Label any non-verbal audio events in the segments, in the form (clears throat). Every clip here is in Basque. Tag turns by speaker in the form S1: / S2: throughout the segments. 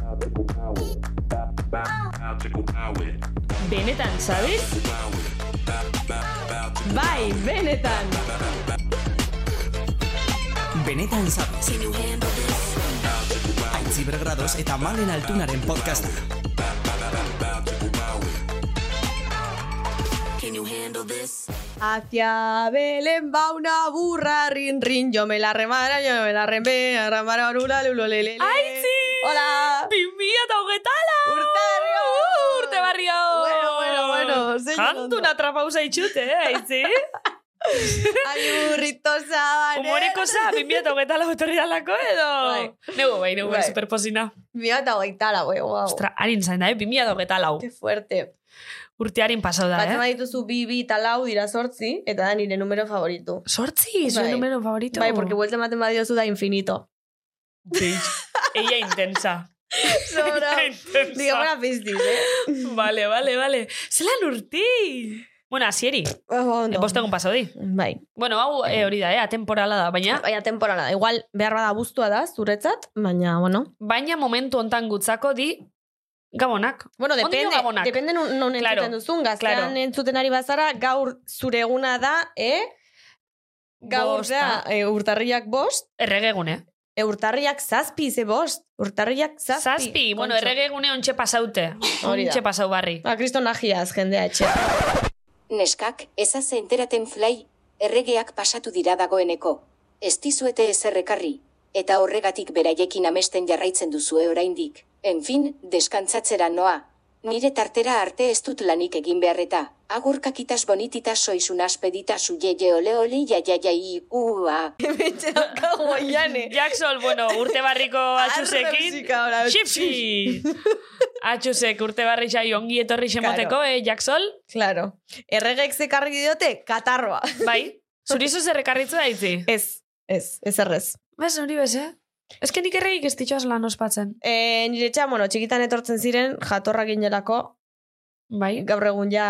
S1: Magical power. Ba- ba- Magical power.
S2: Benetan, ¿sabes?
S1: Power. Ba- ba- magical
S2: Bai, benetan!
S3: Benetan zabez. Aitzi bergradoz eta malen altunaren podcasta.
S2: Hacia Belén va una burra, rin, rin, yo me la remara, yo me la rembe, remara, orula, lulo, lele.
S4: Aitzi!
S2: Hola!
S4: Bi mila eta hogetala!
S2: Urte berri hon!
S4: Urte barri hon!
S2: Bueno, bueno, bueno, zein ondo.
S4: Jantuna trapauza itxute, eh,
S2: (laughs)
S4: aitzi?
S2: Ai, burrito zabane!
S4: Humoreko za, bi mila eta hogetala etorri dalako edo?
S2: Bai.
S4: Nego bai, nego bai,
S2: Bai.
S4: superposina.
S2: Mira, eta gaitala, wey, wow.
S4: Ostra, harin zain da, eh, bi mila eta hogetala.
S2: Qué fuerte.
S4: Urte harin pasau da,
S2: Batzen
S4: eh?
S2: badituzu bi, bi eta lau dira sortzi, eta da nire numero favorito.
S4: Sortzi, zuen
S2: Bai.
S4: numero favorito. Uh.
S2: Bai, porque vuelta ematen badiozu da infinito.
S4: Beitz. Ella intensa.
S2: Sobra.
S4: Ella intensa.
S2: Digamora piztiz, eh?
S4: Vale, vale, vale. Zelan urti! Bueno, asieri.
S2: Oh,
S4: No. Bost egun pasau di.
S2: Bai.
S4: Bueno, hau eh, hori da, eh, atemporala da, baina
S2: Baina temporala. da. Igual, behar bada guztua da, zuretzat, baina, bueno.
S4: baina momentu hontan gutzako di gabonak.
S2: Bueno,
S4: Ondo
S2: depende,
S4: gabonak.
S2: depende nun, nun entzuten
S4: Claro,
S2: duzun. Gaztean
S4: claro.
S2: entzuten ari bazara, gaur zure eguna da, eh? Gaur
S4: Bosta.
S2: da, e, urtarriak bost,
S4: Erregegune.
S2: e, urtarriak zazpi, ze bost. Urtarriak zazpi.
S4: Zazpi, bueno,
S2: kontxo.
S4: erregegune ontxe pasaute.
S2: Hori da.
S4: Ontxe pasau barri.
S2: Ba, kristo nagiaz, jendea
S4: (laughs)
S2: etxe.
S5: Neskak, ezaz enteraten fly, erregeak pasatu dira dagoeneko. Ez dizuete ezerrekarri, eta horregatik beraiekin amesten jarraitzen duzue oraindik. Enfin, deskantzatzera noa. Nire tartera arte ez dut lanik egin beharreta. Agurkakitas bonititas soizunas peditas uieie ole ole ja ja ja i ua.
S2: Etxe daukagu
S4: (laughs)
S2: oiane.
S4: Jackson, bueno, urte barriko
S2: Arre
S4: atxusekin.
S2: musika ora, (laughs)
S4: Xipsi! Atxusek urte barri xai ongi etorri xemoteko, eh, Jackson?
S2: Claro. Erregek zekarri diote,
S4: (laughs)
S2: katarroa.
S4: Bai, zurizu zerrekarritzu da itzi.
S2: Ez, ez, ez errez.
S4: Bez, hori bez, eh? Ez que nik erregik ez ditxoaz lan ospatzen.
S2: E, nire etxean, bueno, txikitan etortzen ziren, jatorra ginelako,
S4: Bai,
S2: gaur egun ja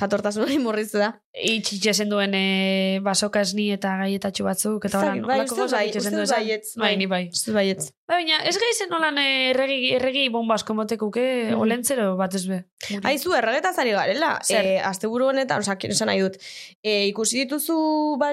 S2: jatortasunari murriztu da.
S4: itxitzen duen eh, basoka esni eta gaietatxu batzuk, eta horan,
S2: Ezagik, bai, uste dut bai, uste dut baietz,
S4: Bai,
S2: bai.
S4: ni bai.
S2: Zut baietz.
S4: Bai, Baina, ez gaizen nolan eh, erregi, erregi bomba asko motekuke,
S2: Mhm.
S4: olentzero bat ez be.
S2: Aizu, erregetaz ari garela.
S4: Zer?
S2: E, Asteburu honetan, osa, esan nahi dut. E, ikusi dituzu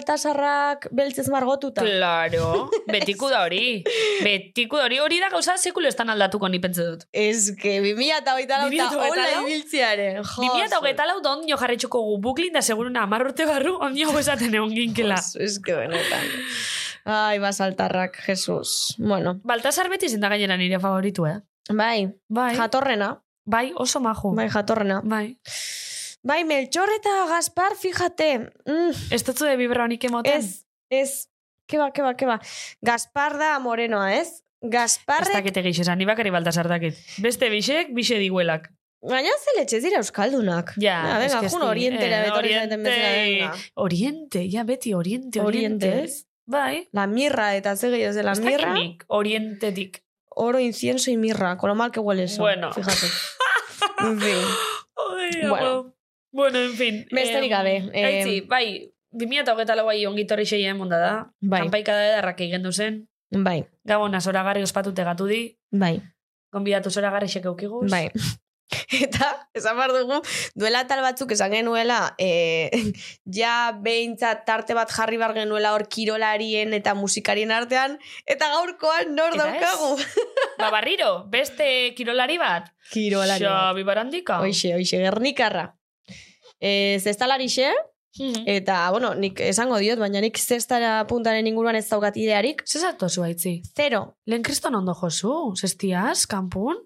S2: baltasarrak beltzez margotuta?
S4: Claro, betiku
S2: (laughs)
S4: da hori. Betiku da hori. Hori da gauza sekulo estan aldatuko ni pentsa dut.
S2: Ez que 2024
S4: 2024?
S2: eta hola ibiltzearen. jo,
S4: 2008 lau da ondino jarretxuko gu buklin da seguruna amar urte barru ondino gozaten egon ginkela.
S2: Pues, Ez que benetan. Ai, basaltarrak, Jesus. Bueno,
S4: Baltasar beti zinda gainera nire favoritu, eh?
S2: bai,
S4: Bai,
S2: jatorrena.
S4: bai oso majo.
S2: Bai, jatorrena.
S4: Bai.
S2: Bai, Melchor eta Gaspar, fíjate. Mm,
S4: Ez dutzu de bibra honik emoten?
S2: Ez, ez, ba, keba, keba, keba. Gaspar da morenoa, ez?
S4: Ez
S2: Gasparrek,
S4: dakite geixo esan, ni bakarri baltasar dakit. Beste bisek, bise diguelak.
S2: baina ze letxez dira euskaldunak.
S4: Ja,
S2: Na, venga,
S4: ez que ez
S2: jun
S4: di-
S2: orientera
S4: eh,
S2: betorri zaten bezala,
S4: oriente.
S2: venga.
S4: Oriente, ja beti, oriente, oriente.
S2: Oriente,
S4: ez? Bai.
S2: La mirra, eta ze gehiago de la
S4: Ez
S2: mirra.
S4: dakinik, orientetik.
S2: Oro, incienso y mirra, con lo mal que huele eso.
S4: Bueno. (laughs)
S2: Fíjate. En fin.
S4: Oia,
S2: Bueno.
S4: ba. bueno, en fin. Em,
S2: Besterik gabe, em.
S4: Aitzi, bai, 2008 lauai bai ongitorri xeien munda da.
S2: Bai.
S4: Kanpaika da edarrak egin zen.
S2: Bai,
S4: Gabona zoragarri ospatute gatu di.
S2: bai,
S4: Gonbidatu zoragarri xek eukiguz.
S2: bai. (laughs) Eta, esan behar dugu, duela tal batzuk esan genuela, eh, (laughs) ja behintzat tarte bat jarri bar genuela hor kirolarien eta musikarien artean, eta gaurkoan nor
S4: Eta ez?
S2: daukagu.
S4: Ba, barriro, beste kirolari bat.
S2: Kirolari bat.
S4: Xabi barandika.
S2: Hoxe, hoxe, gernikarra. E, zestalarixe,
S4: Mhm.
S2: eta, bueno, nik esango diot, baina nik zestara puntaren inguruan ez daukat idearik.
S4: Ze zartu zu aitzi?
S2: Zero.
S4: Lehen kriston ondo jozu, zestiaz, kampun?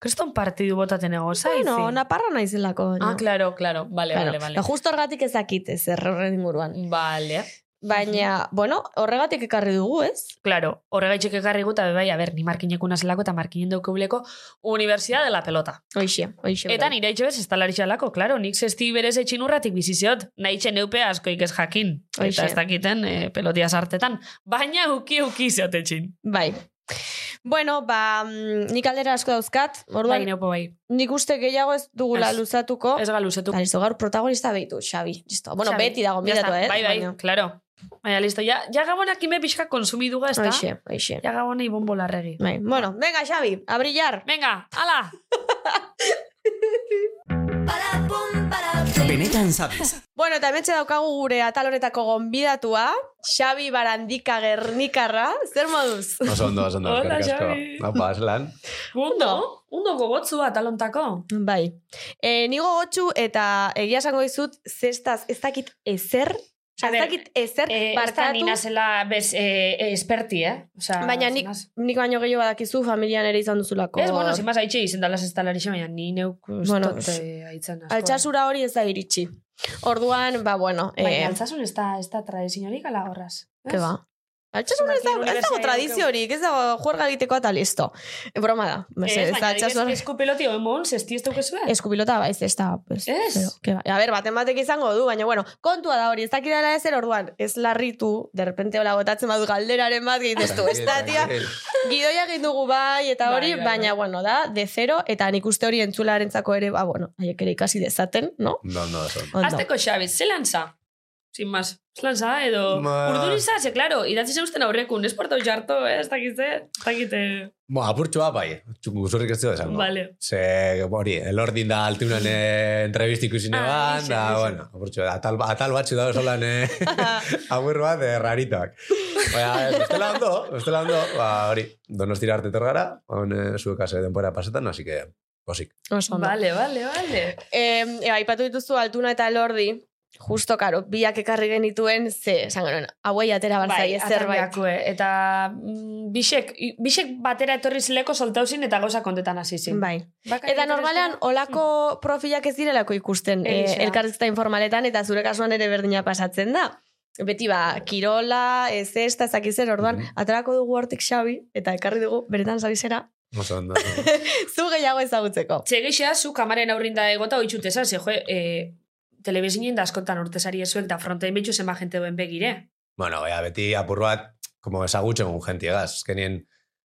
S4: Kriston partidu botaten egoza,
S2: Bueno,
S4: aitzi?
S2: naparra naizelako.
S4: Ah, claro, claro. Vale, vale, vale.
S2: Justo horgatik ezakit ez errorren inguruan.
S4: Vale.
S2: Baina, bueno, horregatik ekarri dugu, ez?
S4: Claro, horregaitxek ekarri guta, be bai, a ber, ni markineku nazelako eta markinen daukeuleko Universidad de la Pelota.
S2: Hoxe, hoxe.
S4: Eta nire itxe bez estalarisalako, claro, nik zesti berez etxin urratik biziziot, nahi itxe neupe asko ikes jakin,
S2: Hoxe.
S4: eta ez dakiten eh, pelotia sartetan, baina uki uki zeot etxin.
S2: Bai. Bueno, ba, mm, nik aldera asko dauzkat,
S4: Bai,
S2: orduan,
S4: neupo bai.
S2: nik uste gehiago ez dugula
S4: Ez.
S2: luzatuko.
S4: Ez galuzetu.
S2: Ba, listo, gaur protagonista behitu, Xabi. Listo. Bueno,
S4: Xabi.
S2: beti dago,
S4: Ya
S2: miratu,
S4: está.
S2: eh?
S4: Bai, bai,
S2: Baina-
S4: claro. Baina, listo, ja, ja gabonak ime pixka konsumiduga, ez da?
S2: Hoxe, hoxe.
S4: Ja gabonei bombolarregi.
S2: Bai, bueno, venga, Xabi, a brillar.
S4: Venga, ala!
S3: Benetan sabes.
S2: Bueno, eta hementxe daukagu gure atal honetako gonbidatua, Xabi Barandika Gernikarra, zer moduz?
S6: Oso ondo, oso ondo.
S4: Hola,
S6: eskerrik asko.
S4: Xabi.
S6: Apa, zelan.
S4: Undo, undo gogotzu bat alontako.
S2: Bai. E, ni gogotsu eta egia esango dizut, zestaz, ez dakit ezer,
S4: A
S2: Osea, ez
S4: ber,
S2: dakit ezer,
S4: Eh, ez da
S2: barkatu,
S4: nina zela bez, eh, eh, esperti, eh? Osea,
S2: baina nik,
S4: zinaz-
S2: nik baino gehiago badakizu familian ere izan duzulako.
S4: Ez, bueno, zimaz haitxe izen dalaz ez talari baina ni neuk
S2: Bueno,
S4: bueno, haitzen asko.
S2: Altxasura hori ez da iritsi. Orduan, ba, bueno,
S4: Baina
S2: eh,
S4: altzasun ez da, ez da tradiziorik ala horraz.
S2: Ke ba. Altsasun ez dago, ez dago tradiziorik, ez dago juerga egiteko eta listo. Broma da.
S4: Eh, Ez,
S2: Ez, ez da
S4: baina
S2: altsasun...
S4: nik esku peloti oen mon, zesti ez daukezue?
S2: Eskupilota baiz, ez da... Ez.
S4: Ez.
S2: Pero, ke ba. A ber, baten batek izango du, baina, bueno, kontua da hori, ez dakidala ezer orduan, ez larritu, derrepente hola botatzen badu galderaren bat gehitestu, ez da, tia,
S6: Tranquil,
S2: gidoia egin dugu bai, eta
S4: Bai,
S2: hori,
S4: bai,
S2: baina, bueno, da, de zero, eta nik uste hori entzularentzako ere, ba, bueno, haiek ere ikasi dezaten, no?
S6: tranquil. Ondo, ondo, oso ondo.
S2: Ondo.
S4: Azteko Xabi, ze lanza? Sin más. Ez lanza, edo... Ma...
S6: Ma-
S4: Urduriza, ze, klaro, idatzi zeuzten aurrekun, ez portau jarto, eh? ez dakitze, ez dakite...
S6: Bo, apurtxoa bai, guzurrik ez dut esango.
S4: Vale. Mm.
S6: Ze, hori, elordin da altiunan eh, entrevista ikusi
S4: Ah,
S6: neban,
S4: ixe,
S6: da,
S4: ixe.
S6: bueno, apurtxoa, atal, atal batzu da solan
S4: (laughs)
S6: eh, agur bat de raritoak. Baina, ez, bestela ondo, bestela ondo, ba, hori, donostira arte torgara, hon eh, zuek hase denbora pasetan, así que, posik.
S2: Oso ondo.
S4: Vale, vale, vale.
S2: Eh, e, aipatu dituzu altuna eta elordi, justo, karo, biak ekarri genituen, ze, esan genuen, hauei atera
S4: Bai,
S2: barzai, ez zerbait.
S4: atarriakue. eh? Eta mm, bisek, i- bisek batera etorri zileko soltauzin eta gauza kontetan hasi zin.
S2: Bai. Eta normalean, olako profilak ez direlako ikusten e,
S4: Egia.
S2: elkarrizketa informaletan, eta zure kasuan ere berdina pasatzen da. Beti ba, kirola, ez ez, eta zaki zer, orduan,
S6: Mhm.
S2: aterako dugu hortik xabi, eta ekarri dugu, beretan zabizera,
S6: Oso ondo.
S2: (laughs) zu gehiago ezagutzeko.
S4: Txegeixea, zu kamaren aurrinda egota oitxutezan, ze jo, e, telebizinen da askotan urtesari ezuek da frontein betxu zema jente duen begire.
S6: bueno, baina, beti apur bat, como esagutzen un jentiegaz, azkenien,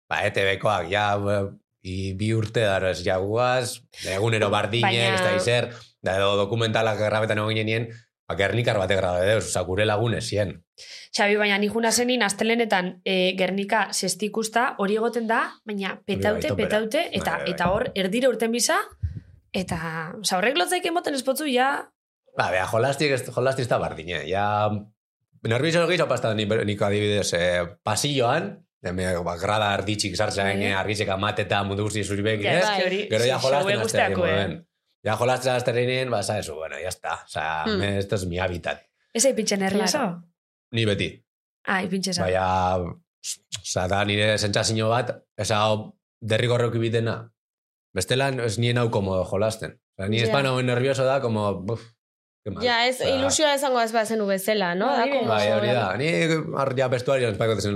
S6: ba, ETB-koak, ja, ba, i, bi urte daro ez jaguaz, egunero bardinek,
S4: Baina-
S6: ez da izer, da edo dokumentalak grabetan egon genien, ba, gernikar batek grabe deus, oza, gure lagun esien.
S4: Xabi, baina ni juna zenin astelenetan e, Gernika zestikusta hori egoten da, baina petaute,
S6: Hori bai,
S4: petaute,
S6: topera.
S4: eta
S6: Bai, bai,
S4: eta
S6: bai.
S4: hor erdire urten biza, eta oza, horrek lotzaik emoten espotzu ja,
S6: Ba, bea, jolastik, ez- jolastik ez da bardine, ja, nervioso gehiago pastan ni, niko adibidez, eh, pasilloan, Deme, ba, grada arditxik sartzen,
S4: Bai.
S6: eh, argitzek amateta mundu guzti zuribek,
S4: ja,
S6: ez?
S4: eske hori,
S6: Gero ja
S4: xaue
S6: jolasten hasten
S4: guzteako, eh.
S6: ginen. Ja jolasten hasten ginen, ba, sabes, bueno, ya está. O sea,
S2: Mm.
S6: me, esto es mi hábitat.
S4: Ez ipintxen erlazo?
S6: Ni beti.
S4: Ah, ipintxen
S6: Baina, oza, da nire sentsazio bat, eza, derrigorreuki bitena. Bestela, ez nien hau komodo jolasten. Oza, ni
S2: Ja.
S6: espan hauen nervioso da, como... Buf, qué mal.
S2: Ja, ez,
S6: Osea,
S2: ilusioa esango ez bazenu bezala, no?
S4: Bai,
S2: como-
S6: Ba. Bai, hori da. Ni ar, ja vestuarioan espako tezen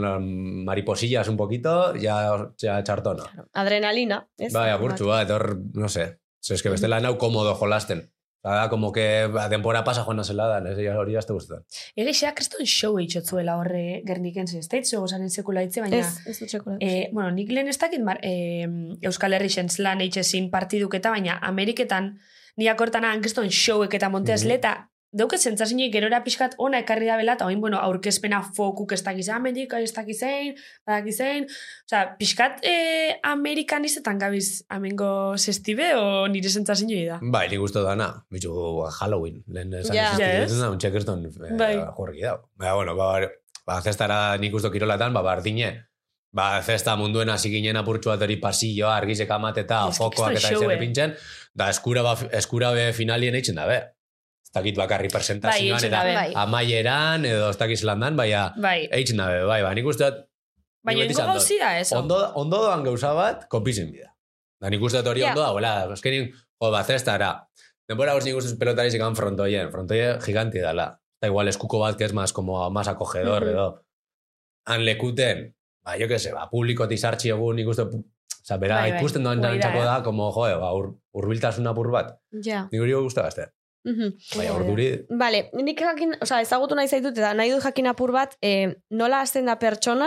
S6: mariposillas un poquito, ja, ja txartona.
S2: Adrenalina, ez?
S6: Bai, agurtu bat, hor, no sé. Ze, eske bestela nau komodo jolasten. Eta da, como que ba, denbora pasa joan nazela da, ez hori azte guztetan.
S4: Egexea kriston show eitxotzuela horre Gerniken zen, ez da itzu gozaren sekula itze, baina...
S2: Ez, Eh, ez dut sekula.
S4: E, bueno, nik lehen ez dakit mar, e, Euskal Herri xentzlan eitxezin partiduketa, baina Ameriketan niak hortan han kriston showek eta monteaz
S6: Mhm.
S4: leta, dauket zentzazinik gerora pixkat ona ekarri da bela, eta oin, bueno, aurkezpena fokuk ez dakiz amendik, ez dakizein, badakizein, oza, pixkat e, amerikanizetan gabiz amengo zestibe, o nire zentzazinik da.
S6: Bai, nik uste dana, bitu Halloween, lehen esan
S2: Ja.
S6: yeah.
S4: Ja,
S6: ez
S4: ez?
S6: da, un txekerston eh,
S4: Bai.
S6: jorgi dau. Baina, bueno, ba, hor- ba, zestara nik uste kirolatan, ba, bardine, ba, zesta munduen hasi ginen apurtxu bat hori pasilloa, argizek amateta,
S4: Ez, kriston
S6: fokoak eta
S4: show,
S6: izan
S4: eh.
S6: pintzen, da, eskura, ba, eskura be finalien eitzen da, be. Ez dakit bakarri
S4: Bai,
S6: presentazioan,
S4: eitzen
S6: eta
S4: da,
S2: bai.
S6: amaieran, edo ez dakiz landan, baina
S4: Bai,
S6: eitzen da, be, bai, ba, nik uste dut, nik
S4: baina
S6: beti
S4: ingo
S6: izan dut,
S4: gauzi da, ez? hau?
S6: Ondo, ondo doan gauza bat, kopizin bida. Da nik uste dut hori
S2: Ja.
S6: ondo dauela, azkenin, jo, bat zestara. Denbora guz nik ustez pelotari zikan frontoien, frontoien giganti dala. Da igual eskuko bat, que es más, como más acogedor,
S4: Mhm.
S6: edo. Han lekuten, ba, jo que se, ba, publiko tizartxi egun nik uste, oza, bera
S4: Bai, bai,
S6: ikusten doan
S4: hori da,
S6: txako
S4: eh?
S6: da, como, jo, ba, ur, urbiltasun apur bat.
S2: Ja.
S6: Nik hori guztu gazte.
S2: Mhm.
S6: Baina,
S4: Bai,
S6: orduri,
S2: Vale, nik jakin, o sea, ezagutu nahi zaitut eta nahi dut jakin apur bat, eh, nola hasten da pertsona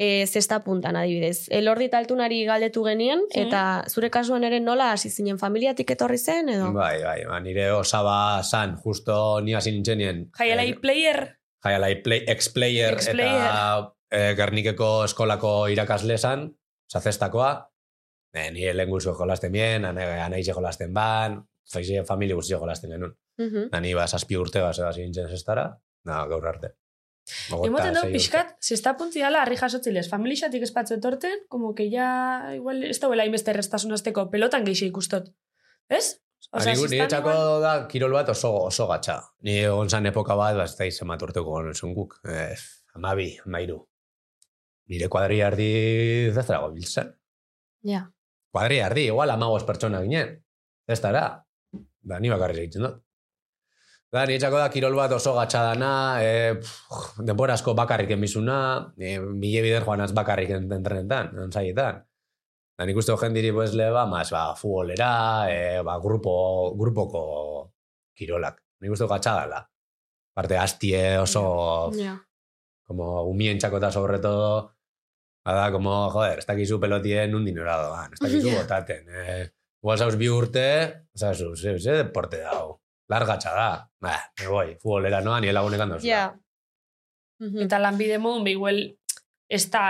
S2: e, zesta puntan adibidez. Elordi taltunari galdetu genien,
S4: Sí.
S2: eta zure kasuan ere nola hasi zinen familiatik etorri zen, edo?
S6: Bai, bai, ba, nire osaba san, justo ni hasi eh, nintzenien.
S4: Jaialai player.
S6: Jaialai play, ex-player eta
S4: Ex-player.
S6: e, Gernikeko eskolako irakasle san, zazestakoa. E, nire lehen guzu jolasten bien, ane, anaize jolasten ban, zoize familia guzti jolasten genuen.
S2: Mhm.
S6: Na, ni ba, zazpi urte bat hasi nintzen zestara, na, gaur arte. Hogeita
S4: Emoten dut
S6: sei urte.
S4: pixkat, zesta puntzi dala, harri jasotziles, familixatik espatzu etorten, como que ya, igual, ez dauela imeste errestasun azteko, pelotan gehiago ikustot. Ez?
S6: Ba, Ni
S4: zistan
S6: nire txako
S4: igual-
S6: da kirol bat oso, oso gatza. Ni egon zan epoka bat, ba, ez da izan bat urteko gonon zuen guk. Eh, amabi, amairu. Nire kuadri ardi zaztara gobiltzen.
S2: Ja.
S6: Kuadri ardi, igual amagoz pertsona ginen. Zestara. Da, ni bakarri egiten dut. Da, nire txako da kirol bat oso gatza dana, eh, pff, denbora asko bakarrik enbizuna, eh, mile bider joan az bakarrik en- entrenetan, entzaietan. Da, nik uste jendiri pues leba, mas, ba, futbolera, eh, ba, grupo, grupoko kirolak. Nik uste gatza dala. Parte, hastie oso,
S2: Ja.
S6: como umien txakota sobre todo, bada, como, joder, ez dakizu pelotien un dinora doan, ez
S4: (laughs)
S6: dakizu
S2: Ja.
S6: botaten. Eh, igual zauz bi urte, zazu, ze, ze deporte dago. Largatxa da. Ba, me voy, futbolera noa, nire lagunekan dauzula.
S2: Ja. Mhm.
S4: Eta lanbide modun, be, igual, ez da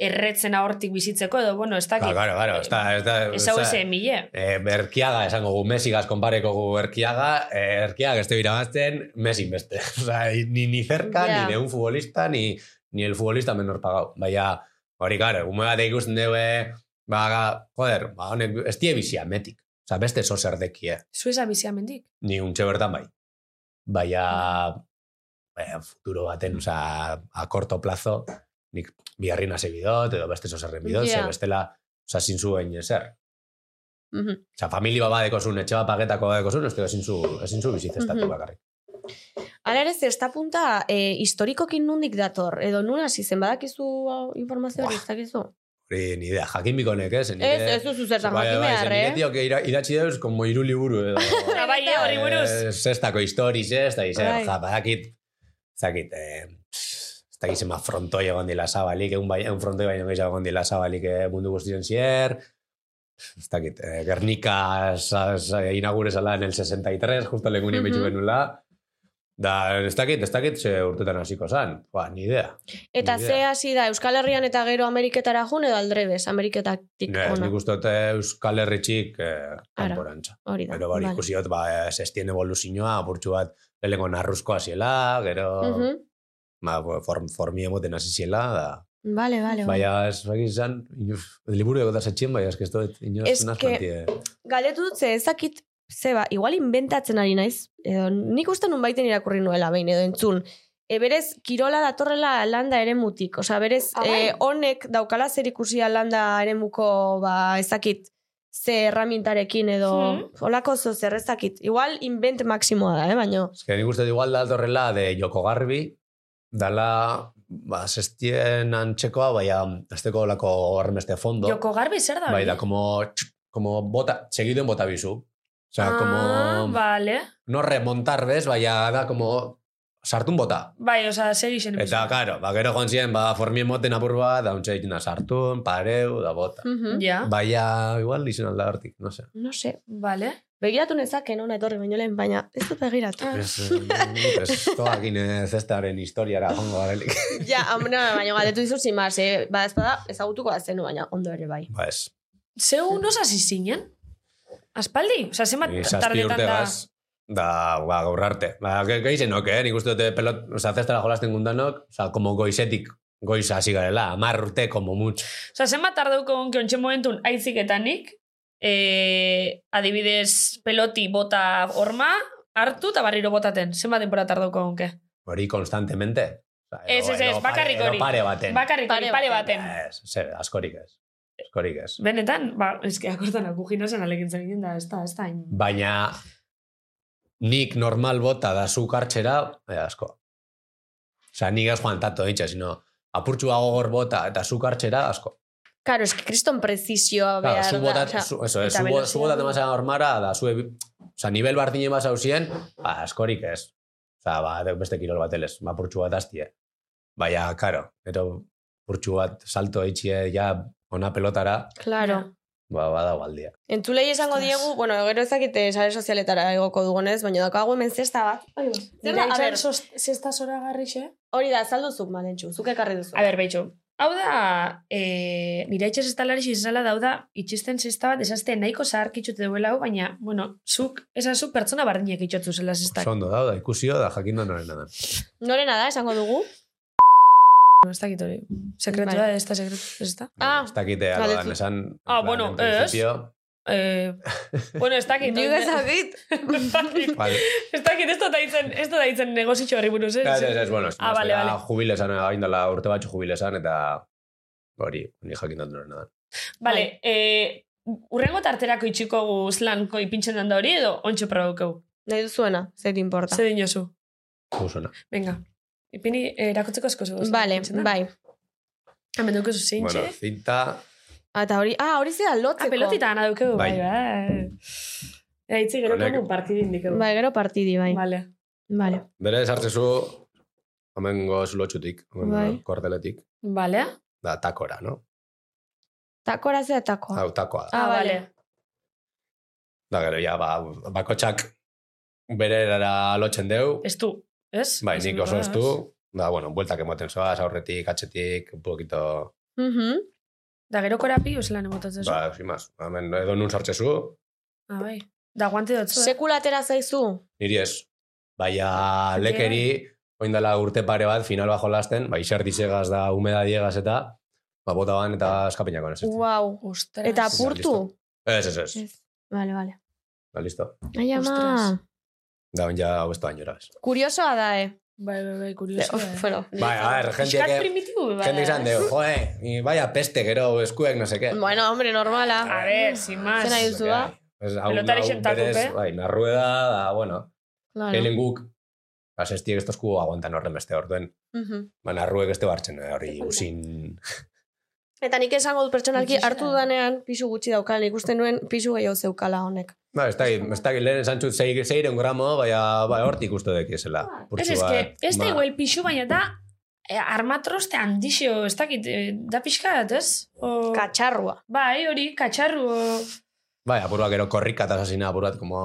S4: erretzen ahortik bizitzeko, edo, bueno, ez dakit.
S6: Ba, Claro, claro, claro, ez da, ez da,
S4: Ez
S6: ez
S4: hau
S6: da-
S4: eze, mile.
S6: Eh, berkiaga esango gu, Mesigaz konpareko gu erkiaga, eh, erkiaga ez irabazten, Mesin beste. (laughs) O sea, ni, ni cerca,
S2: Ya.
S6: ni de un futbolista, ni, ni el futbolista menor pagado. Baina, hori, claro, egun bat ikusten dugu, ba, ga- joder, ba, honek, ez die bizi ametik. O sea, beste zo zer dekie.
S4: Sueza biziamendik.
S6: Ni untxe bertan bai. Baina, baina futuro baten, o sea, a corto plazo, nik biarrina sebidot, edo beste zo zerren bidot,
S2: Ya.
S6: ze bestela, o sea, sin zuen ezer.
S2: Mhm.
S6: Osa, famili bat badekozun, etxe bat pagetako badekozun, ez du ezin zu, ezin zu bizitzestatu
S2: Mhm.
S6: bakarrik.
S2: Hala ere, zesta punta e, historikokin nundik dator, edo nun hasi zen badakizu hau, informazio hori,
S6: Buah.
S2: ez dakizu?
S6: Hori, ni idea, jakin bikonek, ez? Nire,
S2: Ez, ez duzu zer zan
S6: Bai,
S2: jakin
S6: bai, ze
S2: behar,
S6: nire
S2: eh?
S6: tiok ira- idatzi deuz, como iru liburu edo.
S4: Ah, bai, eh, hori buruz.
S6: Eh, Zestako historiz, ez, da
S2: Bai.
S6: izan, ja, badakit, ba, ez dakit, eh, ez dakit zema frontoi egon dila zabalik, egun bai, egun frontoi baino gehiago egon dila zabalik eh, mundu guztien zier, ez dakit, eh, Gernika sa- sa- inaugure zala en el 63, justo lengun
S2: Mhm.
S6: imetxu genula, da, ez dakit, ez dakit, ze urtetan hasiko zan, ba, ni idea.
S2: Eta
S6: Ni
S2: ze
S6: idea.
S2: hasi da, Euskal Herrian eta gero Ameriketara jun, edo aldrebes, Ameriketatik
S6: Ne,
S2: ona,
S6: nik uste dut eh, Euskal Herritxik eh, kanporantza.
S2: hori da.
S6: Gero hori
S2: vale.
S6: ikusiot, ba, sestien evoluzioa, apurtxu bat, lehenko narruzkoa ziela, gero,
S2: Mhm.
S6: ba, form, formi emoten hasi ziela, da.
S2: Vale, vale. vale.
S6: Baina, ez bakiz zan, inuz, liburu egotaz etxien, baina ez dut, inoz,
S2: Ez
S6: naz
S2: que-
S6: plantie.
S2: Galdetu dut ze ezakit, zeba, igual inventatzen ari naiz, edo nik uste nun baiten irakurri nuela behin, edo entzun. E, berez, kirola datorrela landa ere mutik. Osa, berez,
S4: Ah, bai.
S2: eh, honek daukala zer ikusia landa ere muko, ba, ezakit, ze erramintarekin edo
S4: Mhm.
S2: olako zo zer ezakit. Igual invent maksimoa da, eh, baino.
S6: Ez que nik uste dut igual da altorrela de Joko Garbi, dala, ba, sestien antxekoa, baina, azteko lako horremeste fondo.
S4: Joko garbi zer da?
S6: Bai,
S4: hori?
S6: da, como, tx- como bota, segiduen bota bizu. Osea,
S4: ah,
S6: como,
S4: Vale.
S6: no remontar, bez, baina da, como, sartun bota.
S4: Bai, oza, zer izen.
S6: Eta, claro, ba, gero joan ziren, ba, formi emoten apur bat, da untxe egiten da sartun, pareu, da bota.
S2: Mhm.
S4: Ja,
S6: ba- Baina, igual, izen alda hortik, no se.
S2: No sé.
S4: vale.
S2: Begiratu nezaken ona etorri baino lehen, baina ez dut begiratu.
S4: Ah.
S6: Ez, eh, ez, toakin ez zestaren historiara jongo garelik.
S4: (laughs)
S2: ja, amna, baina galdetu dizu zimaz, eh? Ba, ez bada, ezagutuko da zenu, baina ondo ere bai.
S6: Ba, ez.
S4: Zeu nos hasi zinen? Aspaldi? Osa, zenbat
S6: Ni zazpi
S4: tardetan
S6: urte
S4: da?
S6: gaz, da, ba, gaur arte. Ba, ge- gehi zenok, eh? Nik uste dute pelot, oza, zestara jolasten gundanok, oza, como goizetik, goiz hasi garela, amar urte, como mucho.
S4: Osa, zenbat tardeuko onke ontsen momentun aizik eta nik, eh, adibidez peloti bota horma, hartu eta barriro botaten. Zenbat denbora tardeuko onke?
S6: Hori konstantemente. Oza, edo-
S4: Ez, ez, ez,
S6: edo pare-
S4: bakarrik
S6: edo
S4: hori.
S6: Pare baten.
S4: Bakarrik pare,
S2: Pare
S4: pare baten.
S6: Ez, ze, askorik ez. Askorik ez.
S4: Benetan, ba, eske akordan aku ginozen alekin zen egin da, ez da, ez da. hain-
S6: Baina nik normal bota da zu kartxera, eh, asko. Osa, nik ez joan tato ditxe, sino apurtxua gogor bota eta zu kartxera, asko.
S2: Claro, es que kriston prezizioa
S6: Claro,
S2: behar
S6: zu
S2: da.
S6: botat,
S2: osea,
S6: zu, eso, eh,
S4: eta
S6: zu, bo- zu
S4: velozidad.
S6: botat emazan normara, da zu... Osa, nivel bardine bat zauzien, ba, askorik ez. Osa, ba, de- beste kirol bat elez, ba, apurtxua bat hastie. Baina, karo, eto, urtsu bat salto eitxie ja ona pelotara,
S2: Claro.
S4: Ja.
S6: ba, bada gualdia.
S2: Entzulei esango
S4: Ostras.
S2: diegu, bueno, gero ezakite sare sozialetara igoko dugunez, baina daukagu hemen zesta bat. Bai, Zer da, a ber,
S4: zesta zora garrixe?
S2: hori da, azaldu zuk, malentxu, zuk ekarri duzu.
S4: A ber, behitxo. Hau da, e, nire itxez estalari zizala dauda, itxisten zesta bat, ezazte nahiko zaharkitzute duela hau, baina, bueno, zuk, ezazu pertsona bardinek itxotu zela zestak.
S6: Oso ondo da, da ikusio da jakin da norena da.
S2: Norena da, esango dugu?
S4: Ez dakit hori. Sekretua
S2: Bai.
S4: da, ez da sekretu, ez da?
S2: Ah,
S6: ez dakite, alo
S2: galdetu.
S6: dan, esan...
S4: Ah,
S6: en plan,
S4: bueno,
S6: en principio,
S4: Eh, bueno, ez (laughs) dakit.
S2: Nik
S4: oin-
S2: ezakit.
S4: Ez dakit,
S6: Vale,
S4: (laughs) ez dakit, ez da daitzen, ez da daitzen negozitxo horri buruz, ez?
S6: ez, ez, ez, bueno, ez,
S4: Ah, vale, vale.
S6: jubilesan, agindala eh, urte batzu jubilesan, eta hori, ni jakin dut norena da.
S4: Vale, eh, urrengo tarterako itxiko guz lanko ipintzen dan da hori edo Ba. ontsu probakau.
S2: Nahi duzuena, zer importa.
S4: Zer dinozu.
S6: Guzona.
S4: Venga. Ipini eh, erakutzeko asko zego.
S2: Vale, bai.
S4: Hemen dukezu zeintxe.
S6: Bueno, zinta,
S2: Ata hori, ah, hori zera
S4: ah,
S2: lotzeko.
S4: pelotita gana dukegu. Bai,
S6: Bai.
S4: bai. Eitzi gero
S6: Honek-
S4: komu partidin dikegu.
S2: Bai, gero partidi, bai.
S4: Vale.
S2: Vale.
S6: bere esartzezu, omengo zulotxutik, omengo
S2: Bai.
S6: kuarteletik,
S4: Vale.
S6: da takora, no?
S2: Takora zera takoa.
S6: Hau, takoa.
S4: Ah, vale.
S6: Da, gero, ja, ba, bakotxak bere erara lotzen deu.
S4: Estu, ez?
S6: Bai,
S4: Ez ah,
S6: nik
S4: dut,
S6: oso
S4: ez?
S6: estu. Da, bueno, bueltak emoten zoaz, aurretik, atxetik, un poquito...
S2: Mhm.
S4: Da gero korapi, lan emotatzezu.
S6: Ba, sin más. Hemen, edo nun sartzezu,
S4: Ah, bai. Da guante dotzu. eh?
S2: Sekula atera zaizu?
S6: niri ez. Baina, lekeri, oindala urte pare bat, final bajo lasten, bai, xerti segaz da, humeda diegaz eta, ba, bota ban eta eskapinako ez.
S2: Wow.
S4: Ostras.
S2: Eta
S6: pur-
S2: apurtu?
S6: Ez, ez, ez.
S2: Vale, vale.
S6: Da, listo.
S2: Ai, ama.
S4: Ostras.
S6: Da, on ja, besto bainora, ez.
S2: Kuriosoa da, eh?
S4: Bai, bai, bai,
S2: Le-
S4: kurioso.
S2: Uf, bueno.
S6: Bai, a ver,
S4: Piskat
S6: jentiek...
S4: primitibu, bai.
S6: Jende izan deu, joe, eh, vaya peste gero eskuek, no seke.
S2: Bueno, hombre, normala.
S4: A ver, sin más.
S2: Zer Ba, nahi
S6: Ez,
S2: duzu,
S6: lo que
S2: ba?
S6: hay. Ez, hau-
S4: Pelotari
S6: hau
S4: xentakupe.
S6: berez, Bai, narrueda, da, bueno,
S2: Claro.
S6: helen guk, ba, asestiek ez tozku aguantan horren beste orduen.
S2: Mhm.
S6: Ba, narruek ez bartzen, eh, hori usin...
S2: Eta nik esango dut pertsonalki
S4: Gutxi
S2: hartu
S4: zera.
S2: dudanean pisu gutxi daukala, nik uste nuen pisu gehiago zeukala honek.
S6: Ba, ez dakit, ez dakit lehen esan txut zei, zeiren gramo, baina bai, hortik uste dek esela.
S4: Ez, ez, que, ez
S6: ba,
S4: da igual pixu, baina da eh, armatroste handixio, ez dakit, eh, da pixkat, ez? O,
S2: Katxarrua.
S4: Bai, hori, katxarru, o...
S6: Bai, apurua gero korrika eta asasina apuruat como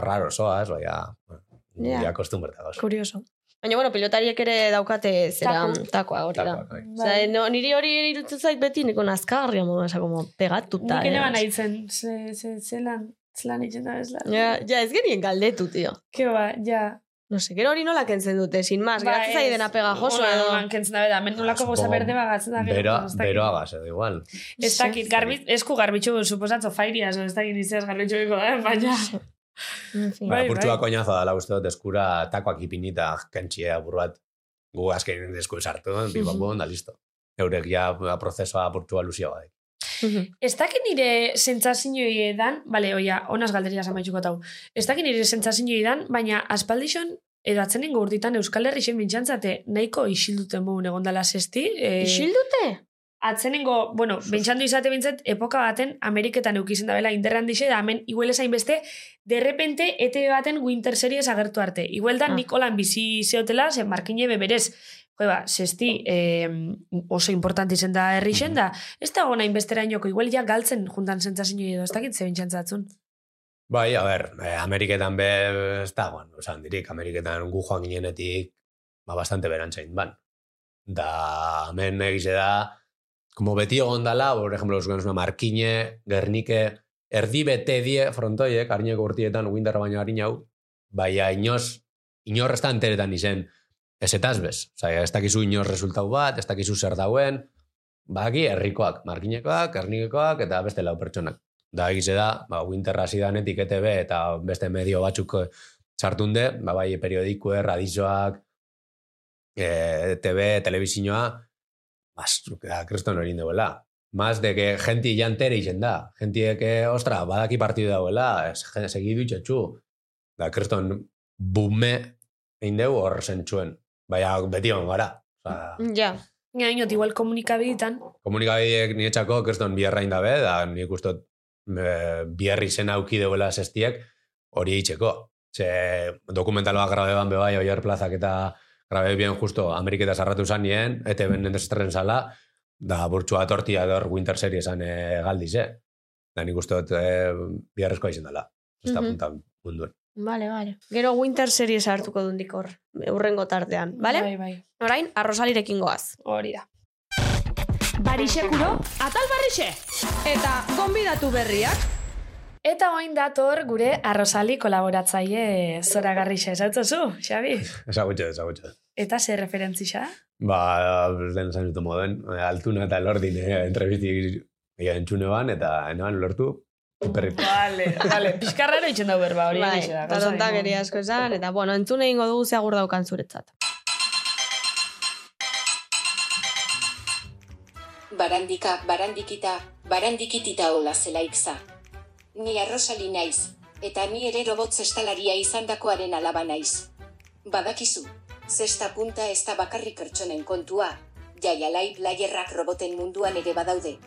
S6: raro soaz, baina...
S2: Ja.
S6: Yeah. Ja, kostumberta gauz.
S2: Kurioso. Baina, bueno, pilotariek ere daukate zera
S4: Taku.
S2: takoa hori da.
S6: Takoak, bai.
S2: Osea, no, niri hori irutzen zait beti niko nazkagarria modu, esa, como pegatuta.
S4: Nik
S2: eh.
S4: ene ban haitzen, ze, ze, zelan, zelan itxen da bezala.
S2: Ja, ja, ez genien galdetu, tío.
S4: Ke ba, ja.
S2: No sé, gero hori nola kentzen dute, sin más.
S4: Ba,
S2: Geratzen zai
S4: ez.
S2: dena pegajoso
S4: Ona,
S2: edo.
S4: eman kentzen da, beda, men nolako
S6: Ah,
S4: goza
S6: supongo,
S4: berde bagatzen da. gero,
S6: Beroa,
S4: ez dakit. Bai,
S6: beroagaz, edo igual.
S4: Ez dakit, garbi, esku garbitxu suposatzo fairias, ez dakit izaz garbitxu beko da, baina...
S2: En fin.
S4: Bai,
S6: Bai, Apurtua
S4: bai.
S6: koinazo dela uste dut eskura takoak ipinita kentxie apur bat gu azken esku sartu, bi
S2: Mhm.
S6: babon, da listo. Eurek ja ba, prozesua apurtua luzia badek.
S4: Ez dakit nire sentzazioi edan, bale, oia, honaz galderia amaituko tau. Ez dakit nire sentzazioi edan, baina aspaldixon edo atzenengo urtitan Euskal Herri zen bintxantzate nahiko isilduten mogun egon dala zesti. E,
S2: Isildute?
S4: Atzenengo, bueno, bintxandu izate bintzat, epoka baten Ameriketan eukizen da bela inderran dixe, da hemen iguel esain beste, derrepente ETV baten Winter Series agertu arte. Iguel da
S2: Ah.
S4: nik holan bizi zeotela, zen markine beberez, Jo, ba, zesti eh, oso importanti zen da herri zen da, ez da gona inbestera inoko, igual ja galtzen juntan zentzazio edo, ez dakit ze bintxantzatzun.
S6: Bai, a ber, eh, Ameriketan be, ez da, bueno, esan dirik, Ameriketan gu joan ginenetik, ba, bastante berantzain, ban. Da, hemen egize da, como beti egon dala, por ejemplo, zuen zuen markine, gernike, erdi bete die frontoiek, harineko urtietan, uindarra baino harin hau, baina inoz, inor ez da enteretan izen, ez etaz bez. Osea, ez dakizu inor resultau bat, ez dakizu zer dauen, baki Ba, herrikoak, markinekoak, hernikekoak, eta beste lau pertsonak. Da egize da, ba, winterra zidanetik ETB eta beste medio batzuk eh, sartunde, ba, bai periodiku, radizoak, e, ETB, ba, telebizinoa, bastruk da, kreston ah, hori duela. Más de que genti jantere izen da. Gentiek, eh, ostra, badaki partidu dauela, es- je- segidu itxetxu. Da, kreston bume egin dugu hor zentzuen. Baina beti hon gara. Osa,
S2: Ja.
S4: Ina inot, igual komunikabidetan,
S6: komunikabideek nietxako kreston biherrain dabe, da nik ustot e, biherri zen auki deuela zestiek hori itxeko. Ze dokumentaloa grabe ban bai, bebai, E oier plazak eta grabe bien justo Ameriketa sarratu zanien, ete benen desterren zala, Da, burtsua tortia dor Winter Seriesan e, galdiz, eh? Da, nik uste dut e, biharrezkoa izan dela. Ez da
S2: Mhm.
S6: punta munduen. (laughs)
S2: Vale, vale. Gero Winter Series hartuko dundik hor, urrengo tartean, vale?
S4: Bai, bai.
S2: Orain, arrosalirekin goaz.
S4: Hori da.
S7: Barixekuro, atal barrixe!
S2: Eta, gonbidatu berriak?
S4: Eta oin dator gure arrozali kolaboratzaile zoragarri xa esatzozu, Xabi.
S6: Ezagutxe, ezagutxe.
S4: Eta ze referentzisa?
S6: Ba, lehen esan dut moden, altuna eta lordin eh, entrevisti ja, entzune ban, eta enoan lortu, perri.
S4: Vale, vale. Pizkarraro itxen dau berba, hori
S2: Bai,
S4: egixe da,
S2: eta
S4: gauza
S2: tontakeri
S4: nimo.
S2: asko esan, eta bueno, entzun egingo dugu ze agur daukan zuretzat.
S5: Barandika, barandikita, barandikitita hola zelaikza. Ni arrosali naiz, eta ni ere robot zestalaria izandakoaren alaba naiz. Badakizu, zesta punta ez da bakarrik pertsonen kontua, jaialai playerrak roboten munduan ere badaude.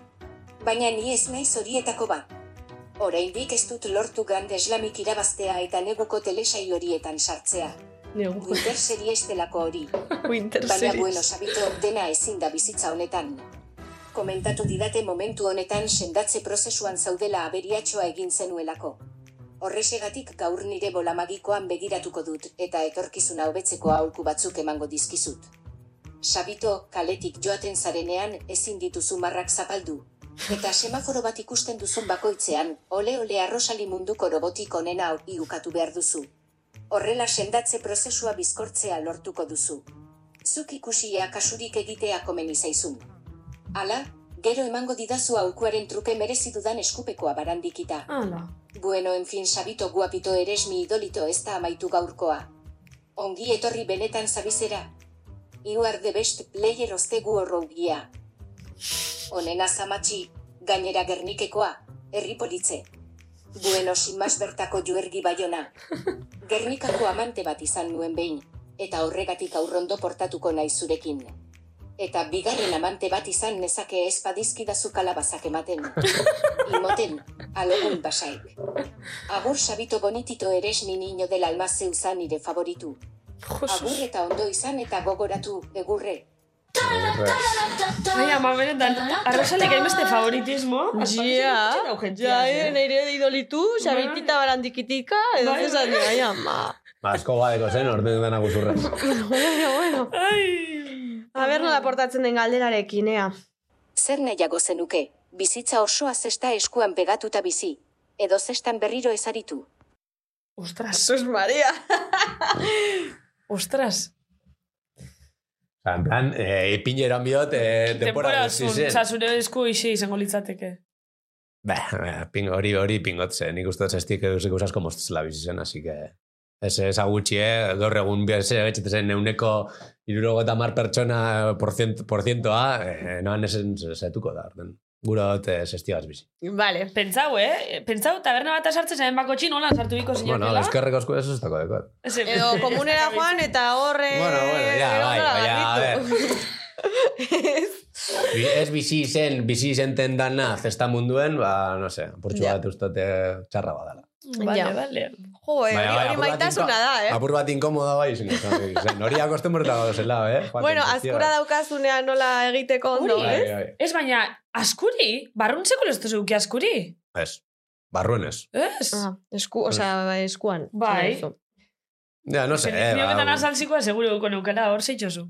S5: Baina ni ez naiz horietako bat. Oraindik ez dut lortu grande eslamik irabaztea eta negoko telesai horietan sartzea.
S2: Negu.
S5: Winter series delako hori.
S2: Winter
S5: Baina
S2: Series.
S5: bueno, sabito, dena ezin da bizitza honetan. Komentatu didate momentu honetan sendatze prozesuan zaudela aberiatxoa egin zenuelako. Horrexegatik gaur nire bola magikoan begiratuko dut eta etorkizuna hobetzeko aholku batzuk emango dizkizut. Sabito, kaletik joaten zarenean ezin dituzu marrak zapaldu. Eta semaforo bat ikusten duzun bakoitzean, ole ole arrosali munduko robotik onena iukatu behar duzu. Horrela sendatze prozesua bizkortzea lortuko duzu zuk ikusia kasurik egitea komeni zaizun. Hala, gero emango didazu aukuaren truke merezi dudan eskupekoa barandikita.
S4: Hala.
S5: Bueno, en fin, sabito guapito eres mi idolito ez da amaitu gaurkoa. Ongi etorri benetan zabizera. You are the best player oztegu horrougia. Onena zamatxi, gainera gernikekoa, herri politze. Bueno, sin más bertako juergi baiona. Gernikako amante bat izan nuen behin, eta horregatik aurrondo portatuko nahi zurekin. Eta bigarren amante bat izan nezake ez badizkidazu kalabazak ematen. Imoten, alogun basaik. Agur sabito bonitito eres ni niño del alma zeusan nire favoritu. Agur eta ondo izan eta gogoratu, egurre.
S4: Ai, ama, benetan, arrozalik hainbeste favoritismo.
S2: Ja, ja, eh, nire idolitu, xabitita barandikitika, edo
S4: Bai,
S2: zesan dira, ja, ma.
S6: Ba, Asko badeko zen, orten dena guzurra.
S2: Bueno, bueno. A ber, nola portatzen den galderarekin, ea.
S5: Zer nahiago zenuke, bizitza osoa zesta eskuan pegatuta bizi. Edo zestan berriro ezaritu.
S4: Ostras,
S2: Jesus Maria.
S4: ostras.
S6: Osa, en plan, eh, ipini eran biot, eh, denbora guzti
S4: zun,
S6: zen.
S4: oza, zure esku isi izango litzateke.
S6: Ba, ba, ping, hori hori pingotze, nik uste dut zestik eusik usasko moztuzela bizi zen, así que... Ez ez agutxi, eh? Gaur egun bize, zen neuneko irurogeta mar pertsona porzient, porzientoa, eh, noan esen zetuko da, orden. Gura dut eh, zestigaz bizi.
S2: Vale.
S4: Pentsau, eh? Pentsau, taberna bat sartzen zen bako txin, holan sartu biko
S6: Bueno,
S4: zinakela.
S6: eskerrek asko ez ez dako dekot.
S4: Ese-
S2: Edo
S4: (laughs)
S2: komunera joan eta horre...
S6: Bueno, bueno, ja,
S2: eh,
S6: bai, bai, ja, a ver. Bi- Ez bizi zen, bizi zenten dana zesta munduen, ba, no sé, apurtxu
S2: Ja.
S6: bat ustote txarra badala.
S4: Vale,
S2: Ja.
S4: vale.
S2: (laughs) Jo, eh, hori
S6: Baina, bai,
S2: hori
S6: apur bat
S2: maitasuna
S6: inko-
S2: da, eh?
S6: Apur bat inkomoda bai, zen, zen, hori akostumbreta gado zela, eh? Joaten
S2: Bueno,
S6: zizkidan.
S2: azkura daukazunean nola egiteko ondo,
S6: Bai,
S2: ez?
S6: bai.
S4: Ez baina, askuri? Barruntzeko leztu zeuki askuri?
S6: Ez, barruen ez.
S4: Ez?
S2: Ah, esku, osea, bai, eskuan.
S4: Bai.
S2: Zan duzu.
S6: Ja, no sé, eh,
S4: Ni honetan
S6: ba,
S4: azaltzikoa seguro duko neukera hor zeitxozu.